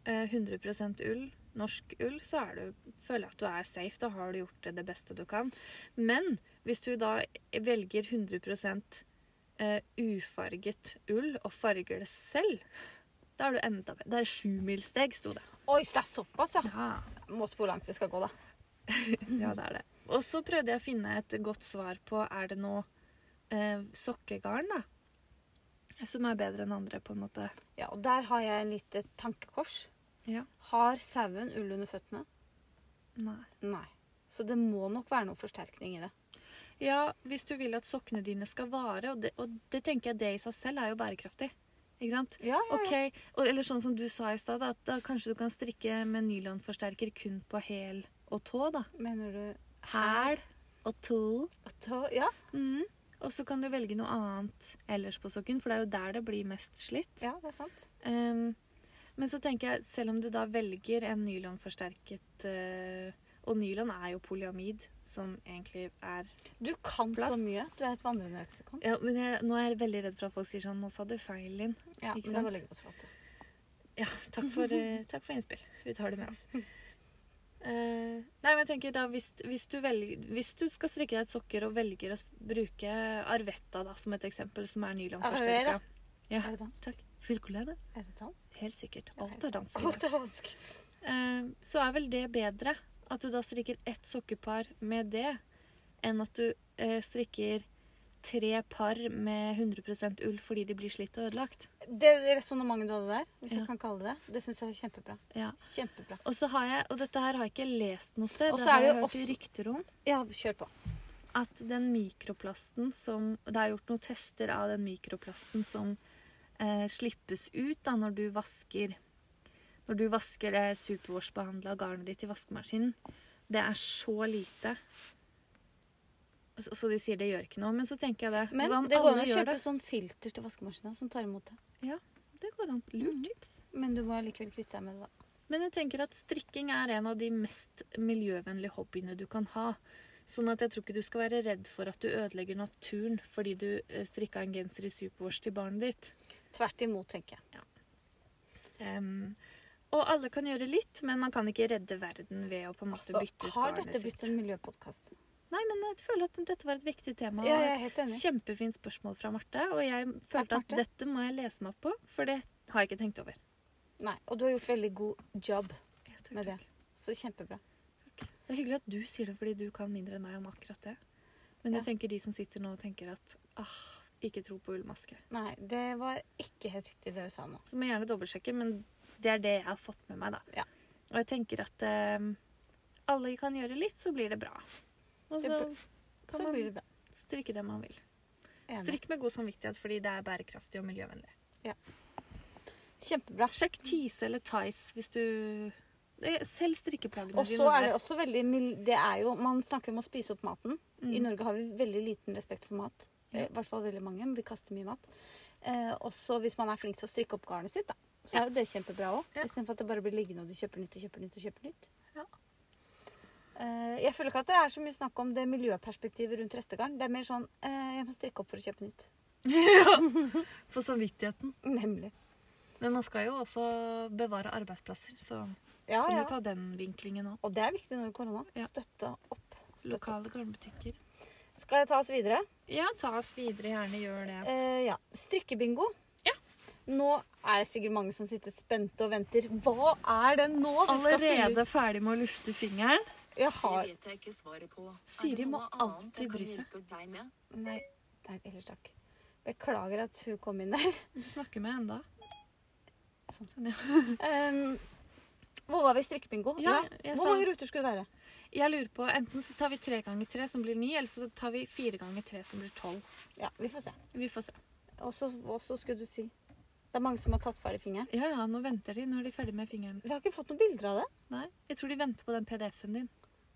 Speaker 2: eh, 100 ull, norsk ull, så er du, føler jeg at du er safe. Da har du gjort det, det beste du kan. Men hvis du da velger 100 eh, ufarget ull og farger det selv, da er du enda bedre. Det er sjumilssteg, sto det.
Speaker 1: Oi, så det er såpass, ja.
Speaker 2: Ja.
Speaker 1: Måte på hvor langt vi skal gå, da.
Speaker 2: Ja, det er det. Og så prøvde jeg å finne et godt svar på er det noe eh, sokkegarn da, som er bedre enn andre, på en måte.
Speaker 1: Ja, og der har jeg en lite tankekors.
Speaker 2: Ja.
Speaker 1: Har sauen ull under føttene?
Speaker 2: Nei.
Speaker 1: Nei. Så det må nok være noe forsterkning i det.
Speaker 2: Ja, hvis du vil at sokkene dine skal vare, og det, og det tenker jeg det i seg selv er jo bærekraftig. Ikke sant?
Speaker 1: Ja, ja, ja.
Speaker 2: Ok, og, Eller sånn som du sa i stad, da, at da kanskje du kan strikke med nylonforsterker kun på hæl og tå. da.
Speaker 1: Mener du
Speaker 2: Hæl og tå.
Speaker 1: at Ja.
Speaker 2: Mhm. Og så kan du velge noe annet ellers på sokken, for det er jo der det blir mest slitt.
Speaker 1: ja, det er sant.
Speaker 2: Ehm, men så tenker jeg, selv om du da velger en nylonforsterket eh, Og nylon er jo polyamid, som egentlig er
Speaker 1: Du kan
Speaker 2: Plast.
Speaker 1: så mye. Du er et vandrende leksikon.
Speaker 2: ja, men jeg, Nå er jeg veldig redd for at folk sier sånn Nå sa du feil, Linn.
Speaker 1: Ja,
Speaker 2: Ikke
Speaker 1: men det
Speaker 2: sant?
Speaker 1: var legge oss flat.
Speaker 2: Ja, takk
Speaker 1: <laughs>
Speaker 2: for, eh, takk for innspill. Vi tar det med oss. Eh, nei, men jeg tenker da hvis, hvis, du velger, hvis du skal strikke deg et sokker og velger å s- bruke Arvetta da, som et eksempel, som er nylonforsterka
Speaker 1: Arvera.
Speaker 2: ja,
Speaker 1: Er det dansk?
Speaker 2: Takk. Fyrkolene.
Speaker 1: Er det dansk?
Speaker 2: Helt sikkert.
Speaker 1: Ja,
Speaker 2: Alt er dans. i det.
Speaker 1: Alt er dansk.
Speaker 2: Eh, så er vel det bedre at du da strikker ett sokkepar med det, enn at du eh, strikker tre par med 100 ull fordi de blir slitt og ødelagt.
Speaker 1: Det resonnementet du hadde der, hvis
Speaker 2: Ja.
Speaker 1: jeg kan kalle det det, det syns jeg var kjempebra.
Speaker 2: Ja.
Speaker 1: Kjempebra.
Speaker 2: Og så har jeg, og dette her har jeg ikke lest noe sted,
Speaker 1: Og så
Speaker 2: det har
Speaker 1: er det
Speaker 2: jeg hørt
Speaker 1: også-
Speaker 2: i rykter om,
Speaker 1: Ja, kjør på.
Speaker 2: at den mikroplasten som Det er gjort noen tester av den mikroplasten som eh, slippes ut da når du vasker Når du vasker det superwash-behandla garnet ditt i vaskemaskinen. Det er så lite. Så, så de sier det gjør ikke noe, men så tenker jeg det.
Speaker 1: Men
Speaker 2: Hva om
Speaker 1: det går an
Speaker 2: alle
Speaker 1: å
Speaker 2: gjør
Speaker 1: kjøpe sånn filter til vaskemaskina som tar imot det.
Speaker 2: det? Ja, det går an.
Speaker 1: Mm.
Speaker 2: Lurt tips.
Speaker 1: Men du må likevel kvitte deg med det, da.
Speaker 2: Men jeg tenker at strikking er en av de mest miljøvennlige hobbyene du kan ha. Sånn at jeg tror ikke du skal være redd for at du ødelegger naturen fordi du eh, strikka en genser i superwash til barnet ditt.
Speaker 1: Tvert imot, tenker jeg.
Speaker 2: Em, og alle kan gjøre litt, men man kan ikke redde verden ved å på en måte
Speaker 1: Altså,
Speaker 2: bytte ut
Speaker 1: har
Speaker 2: garnet
Speaker 1: dette
Speaker 2: sitt.
Speaker 1: blitt en miljøpodkast?
Speaker 2: Nei, men jeg føler at dette var et viktig tema.
Speaker 1: Ja,
Speaker 2: og
Speaker 1: jeg er helt enig.
Speaker 2: Kjempefint spørsmål fra Marte, og jeg følte at
Speaker 1: Marte.
Speaker 2: dette må jeg lese meg opp på, for det har jeg ikke tenkt over.
Speaker 1: Nei, og du har gjort veldig god jobb
Speaker 2: Ja, takk,
Speaker 1: med det.
Speaker 2: takk.
Speaker 1: Så kjempebra.
Speaker 2: Det er hyggelig at du sier det, fordi du kan mindre enn meg om akkurat det. Men jeg
Speaker 1: Ja.
Speaker 2: tenker de som sitter nå og tenker at ah, ikke tro på ullmaske.
Speaker 1: Nei, det var ikke helt riktig det du sa nå.
Speaker 2: Så må jeg gjerne dobbeltsjekke, men det er det jeg har fått med meg, da.
Speaker 1: Ja.
Speaker 2: Og jeg tenker at eh, alle kan gjøre litt, så blir det bra. Og
Speaker 1: Det
Speaker 2: så
Speaker 1: blir-
Speaker 2: kan
Speaker 1: Så
Speaker 2: man
Speaker 1: blir det bra.
Speaker 2: strikke det man vil.
Speaker 1: Enig.
Speaker 2: Strikk med god samvittighet fordi det er bærekraftig og miljøvennlig.
Speaker 1: Kjempebra.
Speaker 2: Sjekk Tise eller Tice hvis du Det- Selv strikkeplaggene
Speaker 1: Og så er det også veldig mil- Det er jo Man snakker om å spise opp maten. I
Speaker 2: Mm.
Speaker 1: Norge har vi veldig liten respekt for mat.
Speaker 2: Ja.
Speaker 1: Eh, I hvert fall veldig mange. men Vi kaster mye mat. Eh, også hvis man er flink til å strikke opp garnet sitt, da. Så er jo det kjempebra òg.
Speaker 2: Ja.
Speaker 1: Istedenfor at det bare blir liggende og du kjøper nytt og kjøper nytt. og kjøper nytt.
Speaker 2: Ja.
Speaker 1: Eh, jeg føler ikke at det er så mye snakk om det miljøperspektivet rundt restegarn. Det er mer sånn eh, Jeg må strikke opp for å kjøpe nytt. <laughs>
Speaker 2: For samvittigheten.
Speaker 1: Nemlig.
Speaker 2: Men man skal jo også bevare arbeidsplasser, så
Speaker 1: Ja,
Speaker 2: Kan
Speaker 1: Ah, ja.
Speaker 2: du ta den vinklingen òg?
Speaker 1: Og det er viktig nå i korona.
Speaker 2: Ja.
Speaker 1: Støtte opp. Støtte. opp.
Speaker 2: Lokale garnbutikker.
Speaker 1: Skal jeg ta oss videre?
Speaker 2: Ja, ta oss videre. Gjerne gjør det.
Speaker 1: Eh, ja. Strikkebingo.
Speaker 2: Ja.
Speaker 1: Nå er det sikkert mange som sitter spente og venter. Hva er det nå? vi skal finne ut?
Speaker 2: Allerede ferdig med å lufte fingeren.
Speaker 1: Jeg
Speaker 3: Det
Speaker 1: har
Speaker 3: vet jeg ikke svaret på. Er det
Speaker 2: Siri må
Speaker 3: noe annet
Speaker 2: alltid
Speaker 3: jeg kan
Speaker 2: bry seg.
Speaker 3: hjelpe deg med?
Speaker 1: Nei, nei ellers takk. Beklager at hun kom inn
Speaker 2: <laughs>
Speaker 1: der.
Speaker 2: Du snakker med enda.
Speaker 1: Sånn.
Speaker 2: Sånn, ja.
Speaker 1: Um, hvor var vi i strikkebingo?
Speaker 2: Ja, jeg
Speaker 1: Hvor
Speaker 2: sa-
Speaker 1: mange ruter skulle det være?
Speaker 2: Jeg lurer på, Enten så tar vi tre ganger tre, som blir ni, eller så tar vi fire ganger tre, som blir tolv.
Speaker 1: Ja, Vi får se.
Speaker 2: Vi får se.
Speaker 1: Og så og så skulle du si Det er mange som har tatt ferdig fingeren.
Speaker 2: Ja, ja, nå venter de. Nå er de ferdig med fingeren.
Speaker 1: Vi har ikke fått noen bilder av det. <laughs>
Speaker 2: Nei, Jeg tror de venter på den PDF-en din.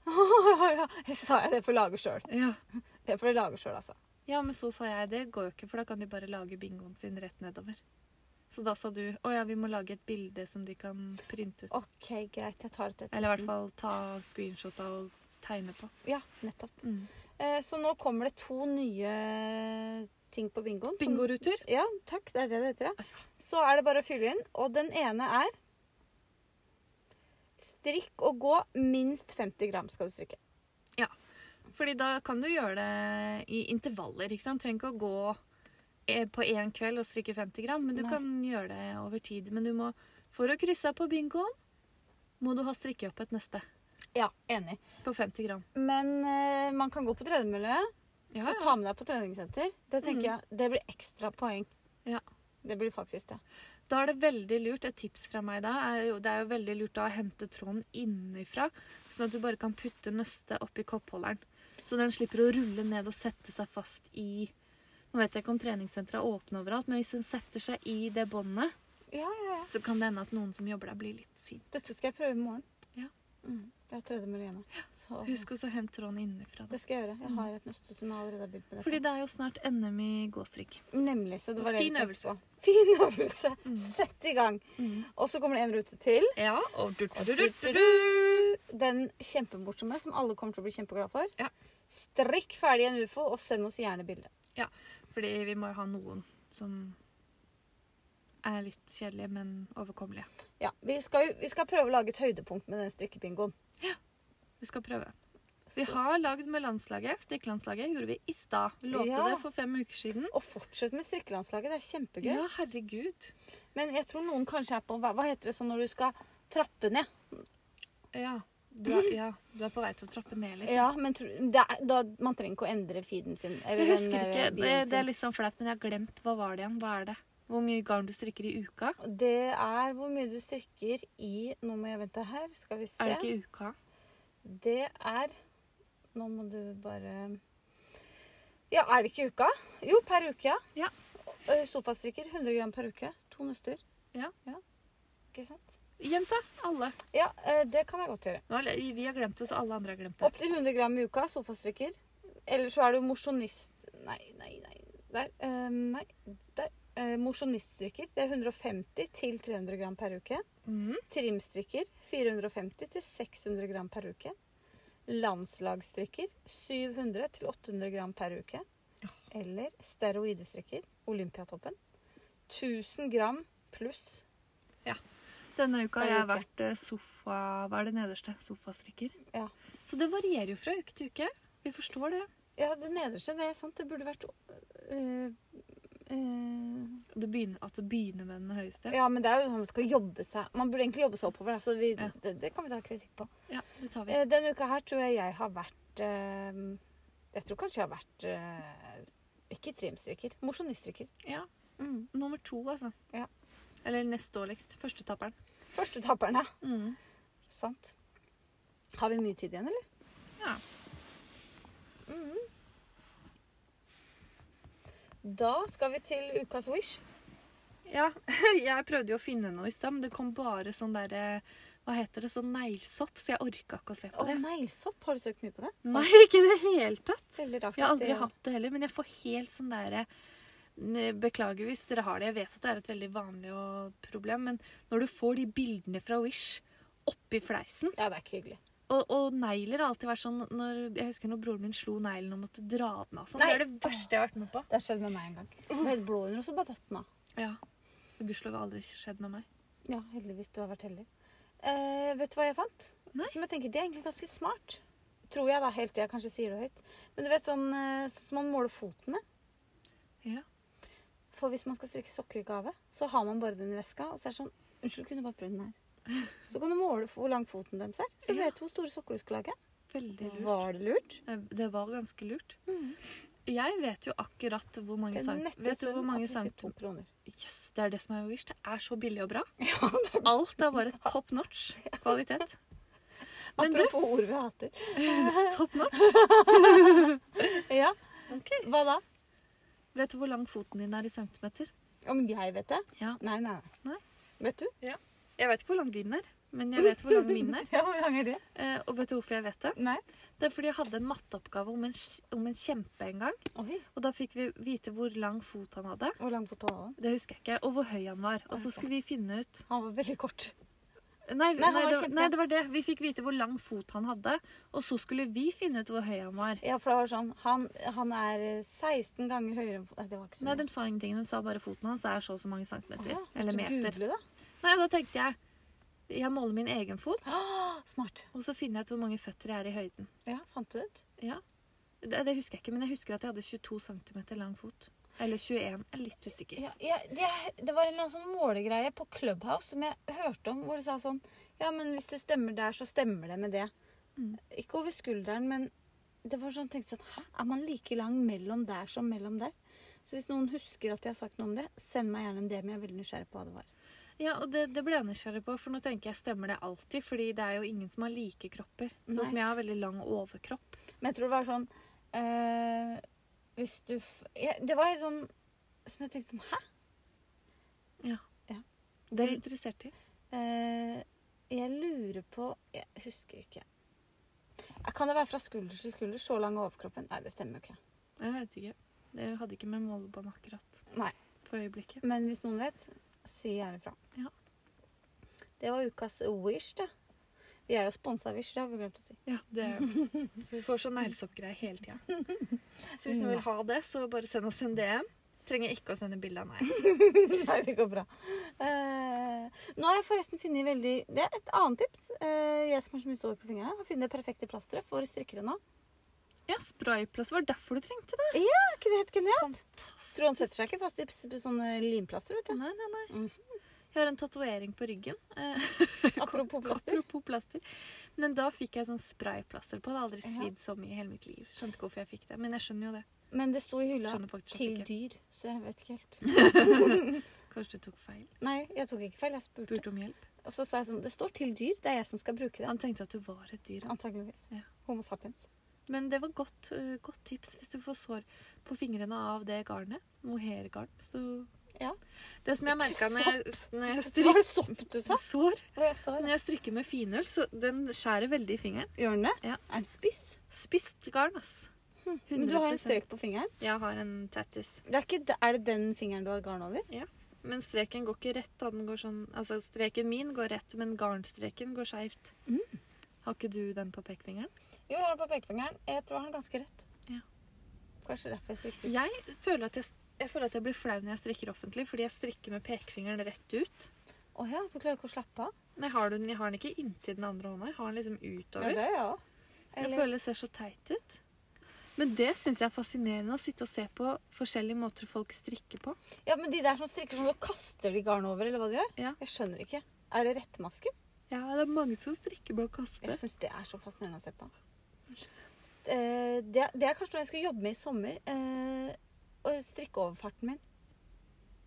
Speaker 1: ja, jeg sa jeg det får lage sjøl.
Speaker 2: Ja.
Speaker 1: Det får de lage sjøl, altså.
Speaker 2: ja, men så sa jeg det går jo ikke, for da kan de bare lage bingoen sin rett nedover. Så da sa du å ja, vi må lage et bilde som de kan printe ut.
Speaker 1: OK, greit. Jeg tar det til
Speaker 2: Eller i hvert fall ta screenshot av og tegne på. Mm.
Speaker 1: Ja, nettopp. Eh, Så nå kommer det to nye ting på bingoen. som-
Speaker 2: Bingoruter.
Speaker 1: Ja, takk. Det er det det heter, ja. Så er det bare å fylle inn. Og den ene er Strikk og gå minst 50 gram skal du strikke.
Speaker 2: Fordi da kan du gjøre det i intervaller. ikke sant? Trenger ikke å gå eh, på én kveld og strikke 50 gram, men du
Speaker 1: Nei.
Speaker 2: kan gjøre det over tid. Men du må, for å krysse av på bingoen, må du ha strikket opp et nøste
Speaker 1: Ja, enig.
Speaker 2: på 50 gram.
Speaker 1: Men eh, man kan gå på tredemølle,
Speaker 2: Ja,
Speaker 1: så
Speaker 2: ja. Mhm.
Speaker 1: ta med deg på treningssenter. Det tenker jeg, det blir ekstra poeng.
Speaker 2: Ja.
Speaker 1: Det blir faktisk det.
Speaker 2: Da er det veldig lurt, et tips fra meg da, er jo, det er jo veldig lurt da å hente tråden innenfra, sånn at du bare kan putte nøstet oppi koppholderen. Så den slipper å rulle ned og sette seg fast i Nå vet jeg ikke om treningssentre er åpne overalt, men hvis den setter seg i det båndet,
Speaker 1: Ja, ja, ja.
Speaker 2: så kan det hende at noen som jobber der, blir litt sint.
Speaker 1: Dette skal jeg prøve i morgen.
Speaker 2: Ja.
Speaker 1: Mm. Jeg har tredemølle hjemme. Så
Speaker 2: Husk Mhm. også å hente tråden innenfra. Da.
Speaker 1: det skal jeg gjøre. Jeg har et nøste som jeg allerede har begynt med. dette.
Speaker 2: Fordi det er jo snart NM i gåstrikk.
Speaker 1: Nemlig. Så det var det
Speaker 2: Fin
Speaker 1: vi tenkte
Speaker 2: øvelse.
Speaker 1: på. Fin øvelse. Sett i gang.
Speaker 2: Mm.
Speaker 1: Og så kommer det en rute til.
Speaker 2: Ja, og du, du, du, du, du.
Speaker 1: Den kjempemorsomme som alle kommer til å bli kjempeglade for.
Speaker 2: Ja.
Speaker 1: Strikk ferdig en ufo, og send oss gjerne bilde.
Speaker 2: Fordi vi må jo ha noen som er litt kjedelige, men overkommelige.
Speaker 1: Ja, vi skal, jo- vi skal prøve å lage et høydepunkt med den strikkebingoen.
Speaker 2: Vi skal prøve. Vi
Speaker 1: Så-
Speaker 2: har lagd med landslaget. Strikkelandslaget gjorde vi i stad. Vi Lovte
Speaker 1: Ja.
Speaker 2: det for fem uker siden.
Speaker 1: Og fortsett med strikkelandslaget. Det er kjempegøy.
Speaker 2: Ja, herregud.
Speaker 1: Men jeg tror noen kanskje er på Hva hva heter det sånn når du skal trappe ned?
Speaker 2: Ja. Du er, ja, du er på vei til å trappe ned litt.
Speaker 1: Ja, men tro- det er, da, Man trenger ikke å endre feeden sin. eller
Speaker 2: Jeg husker
Speaker 1: den,
Speaker 2: ikke.
Speaker 1: eh,
Speaker 2: Det,
Speaker 1: bioen
Speaker 2: det
Speaker 1: sin.
Speaker 2: er litt sånn flaut, men jeg har glemt. Hva var det igjen? Hva er det? Hvor mye garn du strikker i uka?
Speaker 1: Det er hvor mye du strikker i Nå må jeg vente her, skal vi se.
Speaker 2: Er det ikke i uka?
Speaker 1: Det er Nå må du bare Ja, er det ikke i uka? Jo, per uke, ja.
Speaker 2: Ja.
Speaker 1: Ø, Sofastrikker 100 gram per uke. To nøster.
Speaker 2: Ja.
Speaker 1: Ikke sant?
Speaker 2: Jenta. Alle.
Speaker 1: Ja, ø, det kan jeg godt gjøre.
Speaker 2: Nå, er det- vi har glemt det, så alle andre har glemt det.
Speaker 1: Opptil 100 gram i uka, sofastrikker. Eller så er du mosjonist Nei, nei, nei. Der. ø, nei. Der. Uh, Mosjoniststrikker. Det er 150 til 300 gram per uke.
Speaker 2: Mm.
Speaker 1: Trimstrikker 450 til 600 gram per uke. Landslagsstrikker 700 til 800 gram per uke. Eller steroidestrikker, Olympiatoppen. 1000 gram pluss.
Speaker 2: Denne uka har jeg
Speaker 1: Per uke.
Speaker 2: vært eh, sofa... Hva er det nederste? Sofastrikker.
Speaker 1: Ja.
Speaker 2: Så det varierer jo fra uke til uke. Vi forstår det.
Speaker 1: Ja, det nederste, det er sant. Det burde vært øh, øh,
Speaker 2: det begynner, at det begynner med den høyeste.
Speaker 1: Ja, men det er jo sånn man skal jobbe seg Man burde egentlig jobbe seg oppover, da, så vi,
Speaker 2: Ja.
Speaker 1: det, det kan vi ta kritikk på.
Speaker 2: Ja, det tar vi.
Speaker 1: Eh, Denne uka her tror jeg jeg har vært eh, Jeg tror kanskje jeg har vært eh, Ikke trimstrikker, mosjoniststrikker.
Speaker 2: Ja.
Speaker 1: Mm.
Speaker 2: Nummer to, altså.
Speaker 1: Ja.
Speaker 2: Eller nest dårligst. Førstetaperen.
Speaker 1: Første tapperen, ja.
Speaker 2: Mm.
Speaker 1: Sant. Har vi mye tid igjen, eller?
Speaker 2: Ja.
Speaker 1: Mhm. Da skal vi til ukas wish.
Speaker 2: ja. <laughs> Jeg prøvde jo å finne noe i stad, men det kom bare sånn derre Hva heter det? Sånn neglesopp, så jeg orka ikke å se på
Speaker 1: Og
Speaker 2: det.
Speaker 1: neglesopp. Har du søkt mye på det?
Speaker 2: Nei, ikke i det hele tatt.
Speaker 1: Veldig rart.
Speaker 2: Jeg har
Speaker 1: at det-
Speaker 2: aldri hatt det heller, men jeg får helt sånn derre n- Beklager hvis dere har det, jeg vet at det er et veldig vanlig og problem, men når du får de bildene fra Wish oppi fleisen
Speaker 1: Ja, det er ikke hyggelig.
Speaker 2: Og, og negler har alltid vært sånn når, Jeg husker når broren min slo neglen og måtte dra den av. Sånn. Det
Speaker 1: Nei.
Speaker 2: er det verste jeg har vært med på.
Speaker 1: Det har skjedd med meg en <laughs> gang. Jeg var helt blå under, og så bare datt den av.
Speaker 2: Ja. Og Gudskjelov har aldri skjedd med meg.
Speaker 1: Ja, heldigvis. Du har vært heldig. Eh, vet du hva jeg fant?
Speaker 2: Nei.
Speaker 1: Som jeg tenker, Det er egentlig ganske smart. Tror jeg, da. Helt til jeg kanskje sier det høyt. Men du vet sånn eh, sånn som man måler foten med?
Speaker 2: Ja.
Speaker 1: For hvis man skal strikke sokker i gave, så har man bare den i veska. Og så er det sånn Unnskyld, kunne du bare prøvd den her?
Speaker 2: <laughs>
Speaker 1: Så kan du måle for hvor lang foten deres er. Så
Speaker 2: Ja.
Speaker 1: vet du hvor store sokker du skal lage.
Speaker 2: Veldig lurt. Mm.
Speaker 1: Var det lurt?
Speaker 2: Det var ganske lurt. Jeg vet jo akkurat hvor mange
Speaker 1: Det er
Speaker 2: sang...
Speaker 1: nette
Speaker 2: Vet du
Speaker 1: sum
Speaker 2: hvor
Speaker 1: av
Speaker 2: mange
Speaker 1: 32
Speaker 2: sang...
Speaker 1: kroner.
Speaker 2: Jøss, det er det som er Wish. Det er så billig og bra. Alt er bare top notch kvalitet. Men du,
Speaker 1: Apropos ord vi
Speaker 2: <laughs>
Speaker 1: hater.
Speaker 2: top notch.
Speaker 1: Ja, Hva da?
Speaker 2: Vet du hvor lang foten din er i centimeter?
Speaker 1: Om jeg vet det?
Speaker 2: Ja.
Speaker 1: Nei, nei, nei.
Speaker 2: Nei.
Speaker 1: Vet du?
Speaker 2: Jeg vet ikke hvor lang din er, men jeg vet hvor lang min er.
Speaker 1: <laughs> Ja, Hvor lang er det?
Speaker 2: Eh, Og vet du hvorfor jeg vet det?
Speaker 1: Nei.
Speaker 2: Det er fordi jeg hadde en matteoppgave om en, kj- om en kjempe en gang.
Speaker 1: Oi,
Speaker 2: Og da fikk vi vite hvor lang fot han hadde.
Speaker 1: Hvor lang fot har han?
Speaker 2: Det husker jeg ikke. Og hvor høy han var. Og så skulle vi finne ut
Speaker 1: Han var veldig kort.
Speaker 2: Nei,
Speaker 1: Nei,
Speaker 2: nei,
Speaker 1: han var
Speaker 2: det,
Speaker 1: kjempe-
Speaker 2: nei det var det. Vi fikk vite hvor lang fot han hadde. Og så skulle vi finne ut hvor høy han var.
Speaker 1: Ja, for det var sånn Han, han er eh, 16 ganger høyere enn fo- Nei, det var ikke så
Speaker 2: Nei, De sa ingenting. De sa bare foten hans er så og så mange centimeter.
Speaker 1: Å ja,
Speaker 2: Eller
Speaker 1: måtte du
Speaker 2: meter.
Speaker 1: Google, da.
Speaker 2: Nei, og da tenkte jeg Jeg måler min egen fot,
Speaker 1: Ah, smart.
Speaker 2: og så finner jeg ut hvor mange føtter jeg er i høyden.
Speaker 1: Ja, fant du ut?
Speaker 2: Ja. Det, det husker jeg ikke, men jeg husker at jeg hadde 22 cm lang fot. Eller 21. Jeg er litt usikker.
Speaker 1: Ja, ja, det, det var en eller annen sånn målegreie på Clubhouse som jeg hørte om, hvor det sa sånn Ja, men hvis det stemmer der, så stemmer det med det.
Speaker 2: Mm.
Speaker 1: Ikke over skulderen, men det var sånn tenkte sånn Hæ, er man like lang mellom der som mellom der? Så hvis noen husker at jeg har sagt noe om det, send meg gjerne en DM. Jeg er veldig nysgjerrig på hva det var.
Speaker 2: Ja, og det, det ble jeg nysgjerrig på, for nå tenker jeg stemmer det alltid. Fordi det er jo ingen som har like kropper. Sånn
Speaker 1: Nei.
Speaker 2: som jeg har veldig lang overkropp.
Speaker 1: Men jeg tror det var sånn eh, Hvis du f ja, Det var helt sånn som jeg tenkte sånn Hæ?
Speaker 2: Ja.
Speaker 1: Ja.
Speaker 2: Det er jeg interessert i.
Speaker 1: Eh, jeg lurer på Jeg husker ikke. Eh, Kan det være fra skulder til skulder? Så lang er overkroppen? Nei, det stemmer jo ikke.
Speaker 2: Jeg vet ikke. Det hadde ikke med målebånd akkurat
Speaker 1: Nei.
Speaker 2: for øyeblikket.
Speaker 1: Men hvis noen vet, si gjerne fra.
Speaker 2: Ja.
Speaker 1: Det var ukas Wish, da. Vi er jo sponsa av Wish, det har vi glemt å si. <laughs>
Speaker 2: Ja, det <laughs> Vi får sånn neglesoppgreier hele <laughs> tida. Så hvis du vil ha det, så bare send oss en DM. Trenger ikke å sende bilde av meg.
Speaker 1: Nei, det går bra. Eh, nå har jeg forresten funnet veldig Det er et annet tips. Eh, jeg som har så mye sår på fingrene, har funnet det perfekte plasteret for strikkere nå.
Speaker 2: Ja, sprayplass var derfor du trengte det.
Speaker 1: Er ikke det helt genialt?
Speaker 2: Fantastisk.
Speaker 1: Tror han setter seg ikke fast i p- sånne limplaster, vet du.
Speaker 2: Nei, nei, nei.
Speaker 1: Mhm.
Speaker 2: Jeg har en tatovering på ryggen. Eh,
Speaker 1: Apropos plaster.
Speaker 2: <laughs> Apropos plaster. Men da fikk jeg sånn sprayplaster på. Det har aldri
Speaker 1: Ja.
Speaker 2: svidd så mye i hele mitt liv. Skjønte ikke hvorfor jeg fikk det, men jeg skjønner jo det.
Speaker 1: Men det sto i hylla
Speaker 2: Skjønner faktisk
Speaker 1: til
Speaker 2: ikke.
Speaker 1: dyr, så jeg vet ikke helt.
Speaker 2: Kanskje du tok feil.
Speaker 1: Nei, jeg tok ikke feil. Jeg spurte.
Speaker 2: Spurte om hjelp.
Speaker 1: Og så sa jeg sånn Det står til dyr. Det er jeg som skal bruke det.
Speaker 2: Han tenkte at du var et dyr. han.
Speaker 1: Antageligvis.
Speaker 2: Ja.
Speaker 1: Homo sapiens.
Speaker 2: Men det var godt, eh, godt tips hvis du får sår på fingrene av det garnet. Mohairgarn. Så
Speaker 1: Ja.
Speaker 2: Det som jeg
Speaker 1: Ikke
Speaker 2: merka når, jeg- når jeg
Speaker 1: Hva
Speaker 2: strikker
Speaker 1: var <laughs> det sopp du sa?
Speaker 2: sår
Speaker 1: Hva jeg sa
Speaker 2: Når
Speaker 1: da?
Speaker 2: jeg strikker med finøl, så den skjærer veldig i fingeren.
Speaker 1: Gjør den det?
Speaker 2: Ja.
Speaker 1: Er den spiss?
Speaker 2: Spist garn, ass.
Speaker 1: Hm, Men du har en
Speaker 2: 100%.
Speaker 1: strek på fingeren.
Speaker 2: Jeg har en tattis.
Speaker 1: Det er, ikke, d- er det den fingeren du har garn over?
Speaker 2: Men streken går ikke rett. Da. Den går sånn, altså streken min går rett, men garnstreken går skeivt.
Speaker 1: Mm.
Speaker 2: Har ikke du den på pekefingeren?
Speaker 1: Jo, jeg har den på pekefingeren. Jeg tror han er ganske rett.
Speaker 2: Ja.
Speaker 1: Kanskje derfor jeg strikker.
Speaker 2: Jeg føler, at jeg, jeg føler at jeg blir flau når jeg strikker offentlig, fordi jeg strikker med pekefingeren rett ut.
Speaker 1: Å ja, du klarer ikke å slappe av?
Speaker 2: Men jeg har den, jeg har den ikke inntil den andre hånda. Jeg har den liksom
Speaker 1: Ja,
Speaker 2: utover.
Speaker 1: det er jeg òg.
Speaker 2: Jeg
Speaker 1: Eller-
Speaker 2: føler det ser så teit ut. Men det syns jeg er fascinerende å sitte og se på forskjellige måter folk strikker på.
Speaker 1: Ja, men de der som strikker sånn, så kaster de garn over, eller hva de gjør?
Speaker 2: Ja.
Speaker 1: Jeg skjønner ikke. Er det rettmaske?
Speaker 2: Ja, det er mange som strikker med å kaste.
Speaker 1: Jeg syns det er så fascinerende å se på. Eh, Det, er- det er kanskje noe jeg skal jobbe med i sommer. eh, Å strikke overfarten min.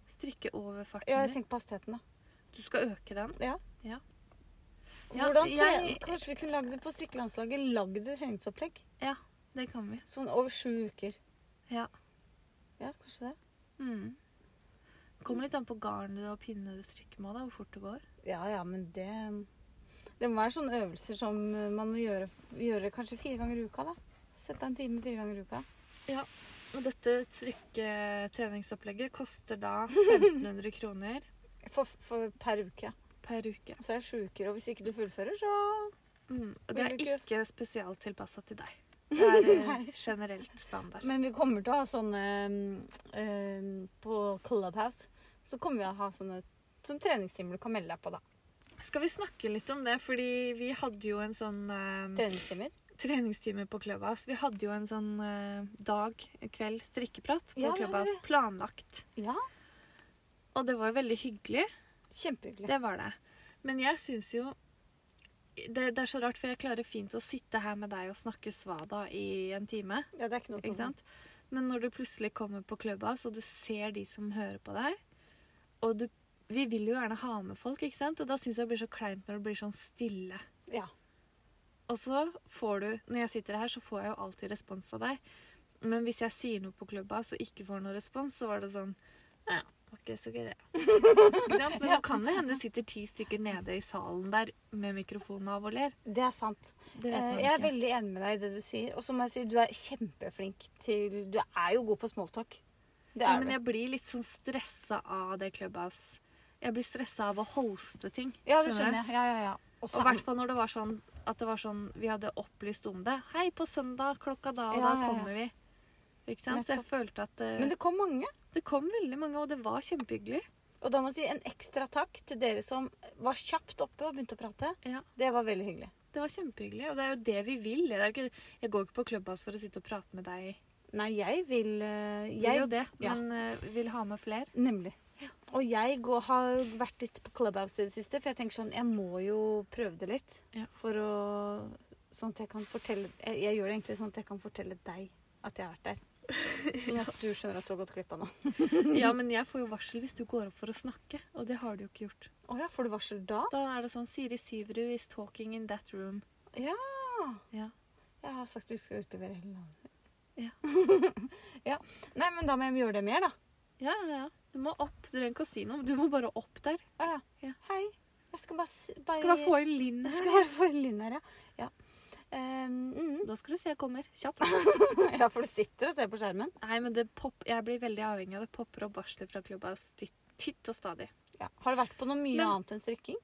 Speaker 2: Strikke over farten
Speaker 1: Ja, jeg
Speaker 2: din.
Speaker 1: tenker på hastigheten, da.
Speaker 2: Du skal øke den. Ja,
Speaker 1: Hvordan tre-
Speaker 2: jeg-
Speaker 1: Kanskje vi kunne lagd det på strikkelandslaget. Lagd et treningsopplegg
Speaker 2: Det kan vi.
Speaker 1: sånn over sju uker.
Speaker 2: Ja.
Speaker 1: Ja, kanskje det.
Speaker 2: Mm. Kommer litt an på garnet og pinne du strikker med, da, hvor fort det går.
Speaker 1: Ja ja, men det Det må være sånne øvelser som man må gjøre, gjøre kanskje fire ganger i uka, da. Sette av en time fire ganger i uka.
Speaker 2: Og dette strikketreningsopplegget koster <laughs> da 1500 kroner
Speaker 1: For, for per uke.
Speaker 2: per uke.
Speaker 1: Så er det sju uker. Og hvis ikke du fullfører, så
Speaker 2: Mm. Og det
Speaker 1: Vil
Speaker 2: er
Speaker 1: du ikke-
Speaker 2: ikke spesialtilpassa til deg. Det <laughs> er eh, generelt standard.
Speaker 1: Men vi kommer til å ha sånne eh, På Clubhouse så kommer vi å ha sånne som treningstimer du kan melde deg på, da.
Speaker 2: Skal vi snakke litt om det? Fordi vi hadde jo en sånn eh,
Speaker 1: Treningstimer.
Speaker 2: treningstime på Clubhouse. Vi hadde jo en sånn eh, dag, kveld, strikkeprat på
Speaker 1: Ja, det hadde
Speaker 2: Clubhouse planlagt.
Speaker 1: Ja,
Speaker 2: Og det var jo veldig hyggelig.
Speaker 1: kjempehyggelig.
Speaker 2: Det var det. Men jeg syns jo det, det er så rart, for jeg klarer fint å sitte her med deg og snakke svada i en time.
Speaker 1: Ja, det er ikke noe
Speaker 2: ikke
Speaker 1: problem.
Speaker 2: sant? Men når du plutselig kommer på Clubhouse, og du ser de som hører på deg Og du, vi vil jo gjerne ha med folk, ikke sant? og da syns jeg det blir så kleint når det blir sånn stille.
Speaker 1: Ja.
Speaker 2: Og så får du Når jeg sitter her, så får jeg jo alltid respons av deg. Men hvis jeg sier noe på Clubhouse og ikke får noe respons, så var det sånn Ja, var ikke så gøy, det. <laughs> Ikke sant? Men så kan det hende det sitter ti stykker nede i salen der med mikrofonen av og ler.
Speaker 1: Det er sant.
Speaker 2: Det vet
Speaker 1: Eh,
Speaker 2: man
Speaker 1: Jeg er
Speaker 2: ikke.
Speaker 1: veldig enig med deg i det du sier. Og så må jeg si, du er kjempeflink til Du er jo god på smalltalk. Det
Speaker 2: Ja,
Speaker 1: er
Speaker 2: men
Speaker 1: du.
Speaker 2: jeg blir litt sånn stressa av det Clubhouse. Jeg blir stressa av å hoste ting.
Speaker 1: Ja, det skjønner
Speaker 2: skjønner du?
Speaker 1: jeg. Ja, ja, ja. Og
Speaker 2: Og
Speaker 1: så
Speaker 2: i hvert fall når det var sånn at det var sånn vi hadde opplyst om det. Hei, på søndag klokka da
Speaker 1: Ja,
Speaker 2: og
Speaker 1: ja,
Speaker 2: da
Speaker 1: ja.
Speaker 2: kommer vi. Ikke sant? Så jeg følte at eh,
Speaker 1: Men det kom mange.
Speaker 2: Det kom veldig mange, og det var kjempehyggelig.
Speaker 1: Og da må jeg si en ekstra takk til dere som var kjapt oppe og begynte å prate.
Speaker 2: Ja.
Speaker 1: Det var veldig hyggelig.
Speaker 2: Det var kjempehyggelig, og det er jo det vi vil. Det er jo ikke, jeg går ikke på Clubhouse for å sitte og prate med deg.
Speaker 1: Nei, jeg vil eh, jeg,
Speaker 2: Jeg vil jo det,
Speaker 1: ja.
Speaker 2: men eh, vil ha med
Speaker 1: <laughs>
Speaker 2: flere.
Speaker 1: Nemlig. Og jeg går, har vært litt på Clubhouse i det siste, for jeg tenker sånn Jeg må jo prøve det litt.
Speaker 2: Ja.
Speaker 1: For å Sånn at jeg kan fortelle jeg, jeg gjør det egentlig sånn at jeg kan fortelle deg at jeg har vært der. Sånn at du skjønner at du har gått glipp av noe.
Speaker 2: Ja, men jeg får jo varsel hvis du går opp for å snakke, og det har du jo ikke gjort.
Speaker 1: Å ja, får du varsel da?
Speaker 2: Da er det sånn Siri Syverud is talking in that room.
Speaker 1: Ja.
Speaker 2: Ja.
Speaker 1: Jeg har sagt du skal utlevere hele landet mitt.
Speaker 2: Ja.
Speaker 1: <laughs> ja. Nei, men da må jeg gjøre det mer, da.
Speaker 2: Ja, ja, ja. Du må opp. Du trenger ikke å si noe. Du må bare opp der.
Speaker 1: Å ja.
Speaker 2: Ja.
Speaker 1: Hei. Jeg skal bare, s- bare
Speaker 2: Skal bare få inn Linn
Speaker 1: Jeg
Speaker 2: her.
Speaker 1: <laughs> skal bare få Linn her, ja. ja. Um, mm. <laughs>
Speaker 2: Da skal du se jeg kommer. Kjapt.
Speaker 1: ja, for du sitter og ser på skjermen.
Speaker 2: Nei, men det pop, jeg blir veldig avhengig av det. Popper opp varsler fra Clubhouse titt, titt og stadig.
Speaker 1: Ja. Har du vært på noe mye
Speaker 2: Men-
Speaker 1: annet enn strikking?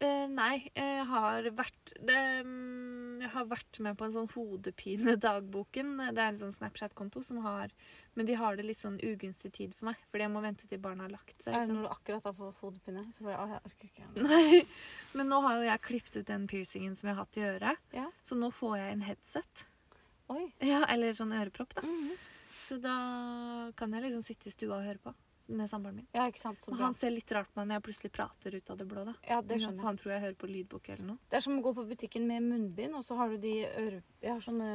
Speaker 2: Eh, nei, jeg har vært det, mm, Jeg har vært med på en sånn hodepine-dagboken. Det er en sånn Snapchat-konto som har Men de har det litt sånn ugunstig tid for meg, fordi jeg må vente til barna har lagt seg.
Speaker 1: Er
Speaker 2: ikke
Speaker 1: det når du
Speaker 2: sant?
Speaker 1: akkurat har fått hodepine? Så bare, «Å, jeg orker ikke.
Speaker 2: Nei, Men nå har jo jeg klippet ut den piercingen som jeg har hatt i øret,
Speaker 1: Ja.
Speaker 2: så nå får jeg en headset.
Speaker 1: Oi.
Speaker 2: Ja, Eller sånn ørepropp, da.
Speaker 1: Mhm.
Speaker 2: Så da kan jeg liksom sitte i stua og høre på med samboeren min.
Speaker 1: Ja, ikke sant. Så
Speaker 2: Men
Speaker 1: bra.
Speaker 2: han ser litt rart på meg når jeg plutselig prater ut av det blå, da.
Speaker 1: Ja, det skjønner jeg.
Speaker 2: Han tror jeg hører på lydbok eller noe.
Speaker 1: Det er som å gå på butikken med munnbind, og så har du de øre... Jeg har sånne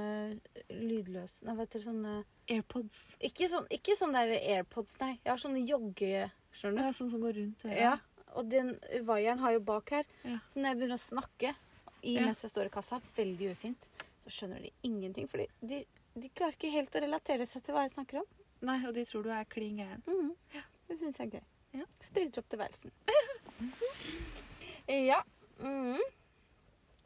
Speaker 1: lydløse Nei, vet dere, sånne
Speaker 2: AirPods.
Speaker 1: Ikke sånn, ikke sånn der AirPods, nei. Jeg har sånne jogge... Skjønner du?
Speaker 2: Ja, sånn som går rundt øret.
Speaker 1: Ja. Og den vaieren har jo bak her.
Speaker 2: Ja.
Speaker 1: Så når jeg begynner å snakke i
Speaker 2: Ja.
Speaker 1: mens jeg står i kassa, veldig ufint, så skjønner de ingenting. Fordi de, de klarer ikke helt å relatere seg til hva jeg snakker om.
Speaker 2: Nei, og de tror du er klin gæren.
Speaker 1: Mhm. Det syns jeg er gøy.
Speaker 2: Ja.
Speaker 1: Spriter opp tilværelsen. <laughs> ja. Mhm.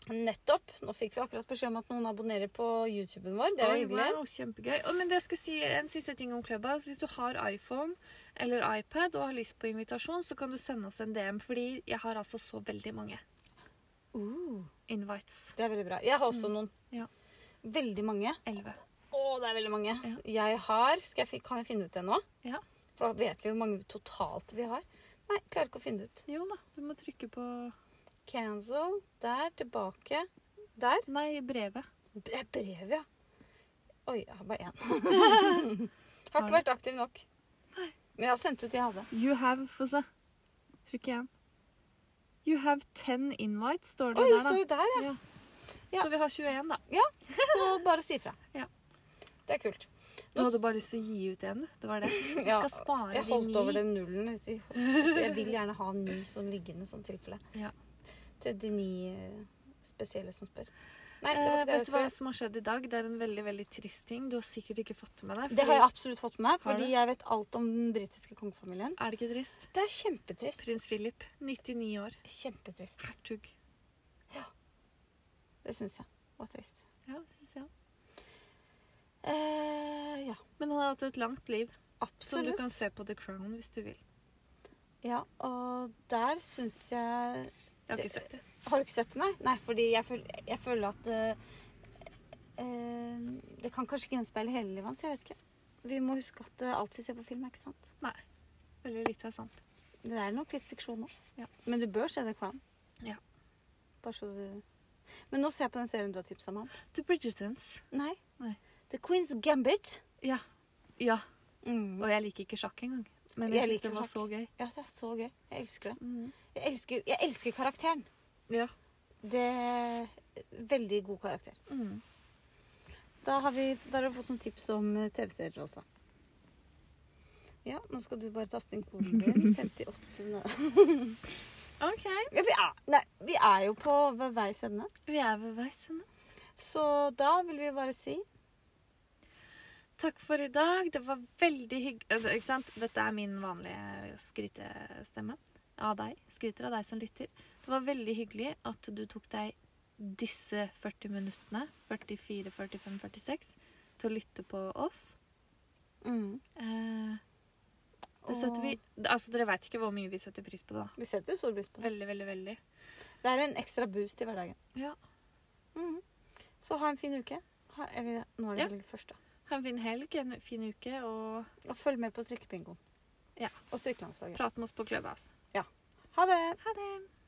Speaker 1: Nettopp. Nå fikk vi akkurat beskjed om at noen abonnerer på YouTuben vår. Det er
Speaker 2: Oi,
Speaker 1: jo hyggelig.
Speaker 2: wow, kjempegøy. Å, men det jeg skulle si en siste ting om Clubhouse. Hvis du har iPhone eller iPad og har lyst på invitasjon, så kan du sende oss en DM, fordi jeg har altså så veldig mange
Speaker 1: Uh,
Speaker 2: invites.
Speaker 1: det er veldig bra. Jeg har også noen.
Speaker 2: Mm. Ja.
Speaker 1: Veldig mange.
Speaker 2: Elleve.
Speaker 1: Å, det er veldig mange. Jeg har skal jeg, fi- Kan jeg finne ut det nå?
Speaker 2: Ja.
Speaker 1: For da vet vi hvor mange totalt vi har. Nei, klarer ikke å finne ut.
Speaker 2: Jo da, du må trykke på
Speaker 1: Cancel. Der, tilbake. Der.
Speaker 2: Nei, brevet.
Speaker 1: Det er brevet, ja. Oi, jeg har
Speaker 2: <laughs>
Speaker 1: bare én. har
Speaker 2: Har
Speaker 1: ikke
Speaker 2: du?
Speaker 1: vært aktiv nok. Men jeg har sendt ut de jeg hadde.
Speaker 2: You have Få se. Trykk igjen. You have ten invites, står det
Speaker 1: Oi, det
Speaker 2: der, da.
Speaker 1: står jo der, ja.
Speaker 2: Ja.
Speaker 1: Ja.
Speaker 2: Så vi har 21, da.
Speaker 1: Så bare si ifra.
Speaker 2: Ja.
Speaker 1: Det er kult.
Speaker 2: Du hadde bare lyst til å gi ut en, du. Det var
Speaker 1: <laughs>
Speaker 2: det. Vi
Speaker 1: Ja,
Speaker 2: skal spare
Speaker 1: Jeg
Speaker 2: de
Speaker 1: holdt
Speaker 2: ni.
Speaker 1: over den nullen. Så jeg vil gjerne ha ni sånn liggende sånn tilfelle.
Speaker 2: <laughs> Ja.
Speaker 1: Til de ni eh, spesielle som spør. Nei, det var
Speaker 2: Eh,
Speaker 1: ikke det jeg
Speaker 2: vet du hva
Speaker 1: skulle-
Speaker 2: som har skjedd i dag? Det er en veldig veldig trist ting. Du har sikkert ikke fått med deg.
Speaker 1: Det har jeg absolutt fått med meg,
Speaker 2: Har du?
Speaker 1: fordi jeg vet alt om den britiske kongefamilien.
Speaker 2: Er det ikke trist?
Speaker 1: Det er kjempetrist.
Speaker 2: Prins Philip, 99 år.
Speaker 1: Kjempetrist.
Speaker 2: Hertug.
Speaker 1: Det syns jeg var trist.
Speaker 2: Ja, synes jeg.
Speaker 1: Eh, ja,
Speaker 2: Men han har hatt et langt liv, så du
Speaker 1: absolutt.
Speaker 2: kan se på The Crown hvis du vil.
Speaker 1: Ja, og der syns jeg
Speaker 2: Jeg har
Speaker 1: Det-
Speaker 2: ikke sett det.
Speaker 1: Har du ikke sett det, nei? Nei, fordi jeg føler, jeg føler at eh, eh, Det kan kanskje ikke gjenspeile hele livet hans. Jeg vet ikke. Vi må huske at eh, alt vi ser på film, er ikke sant.
Speaker 2: Veldig lite er sant.
Speaker 1: Det er nok litt fiksjon nå.
Speaker 2: Ja.
Speaker 1: Men du bør se The Crown.
Speaker 2: Ja.
Speaker 1: Bare så du Men nå ser jeg på den serien du har tipsa meg om.
Speaker 2: The Bridgertons.
Speaker 1: Nei.
Speaker 2: Nei.
Speaker 1: The Queen's Gambit.
Speaker 2: Ja. Ja.
Speaker 1: Mm.
Speaker 2: Og jeg liker ikke sjakk engang. Men
Speaker 1: Jeg
Speaker 2: jeg, synes
Speaker 1: liker
Speaker 2: det var
Speaker 1: sjakk.
Speaker 2: så gøy. Mm.
Speaker 1: Ja, det er så gøy. Jeg elsker det. Jeg elsker, jeg elsker karakteren.
Speaker 2: Ja.
Speaker 1: Det er Veldig god karakter.
Speaker 2: Mm.
Speaker 1: Da har, vi, da har du fått noen tips om eh, TV-serier også. Ja, nå skal du bare taste inn koden
Speaker 2: <laughs>
Speaker 1: din. 58 nei.
Speaker 2: OK.
Speaker 1: ja, vi, er, nei, vi er jo på ved veis ende.
Speaker 2: Vi er ved veis ende.
Speaker 1: Så da vil vi bare si
Speaker 2: Takk for i dag. Det var veldig hyggelig. Ikke sant? Dette er min vanlige skrytestemme av deg. Skryter av deg som lytter. Det var veldig hyggelig at du tok deg disse 40 minuttene, 44, 45, 46, til å lytte på oss.
Speaker 1: mm,
Speaker 2: Eh, det
Speaker 1: og-
Speaker 2: setter vi Altså, dere veit ikke hvor mye vi setter pris på det, da.
Speaker 1: Vi setter stor pris på det.
Speaker 2: Veldig, veldig, veldig.
Speaker 1: Det er en ekstra boost i hverdagen.
Speaker 2: Ja.
Speaker 1: Mm. Så ha en fin uke. Ha, eller nå er det
Speaker 2: Ja.
Speaker 1: vel først, da.
Speaker 2: Ha en fin helg, en fin uke, og
Speaker 1: Og følg med på strikkebingoen.
Speaker 2: Ja.
Speaker 1: Og strikkelandslaget.
Speaker 2: Prat med oss på Clubhouse.
Speaker 1: Ha det!
Speaker 2: Ha det!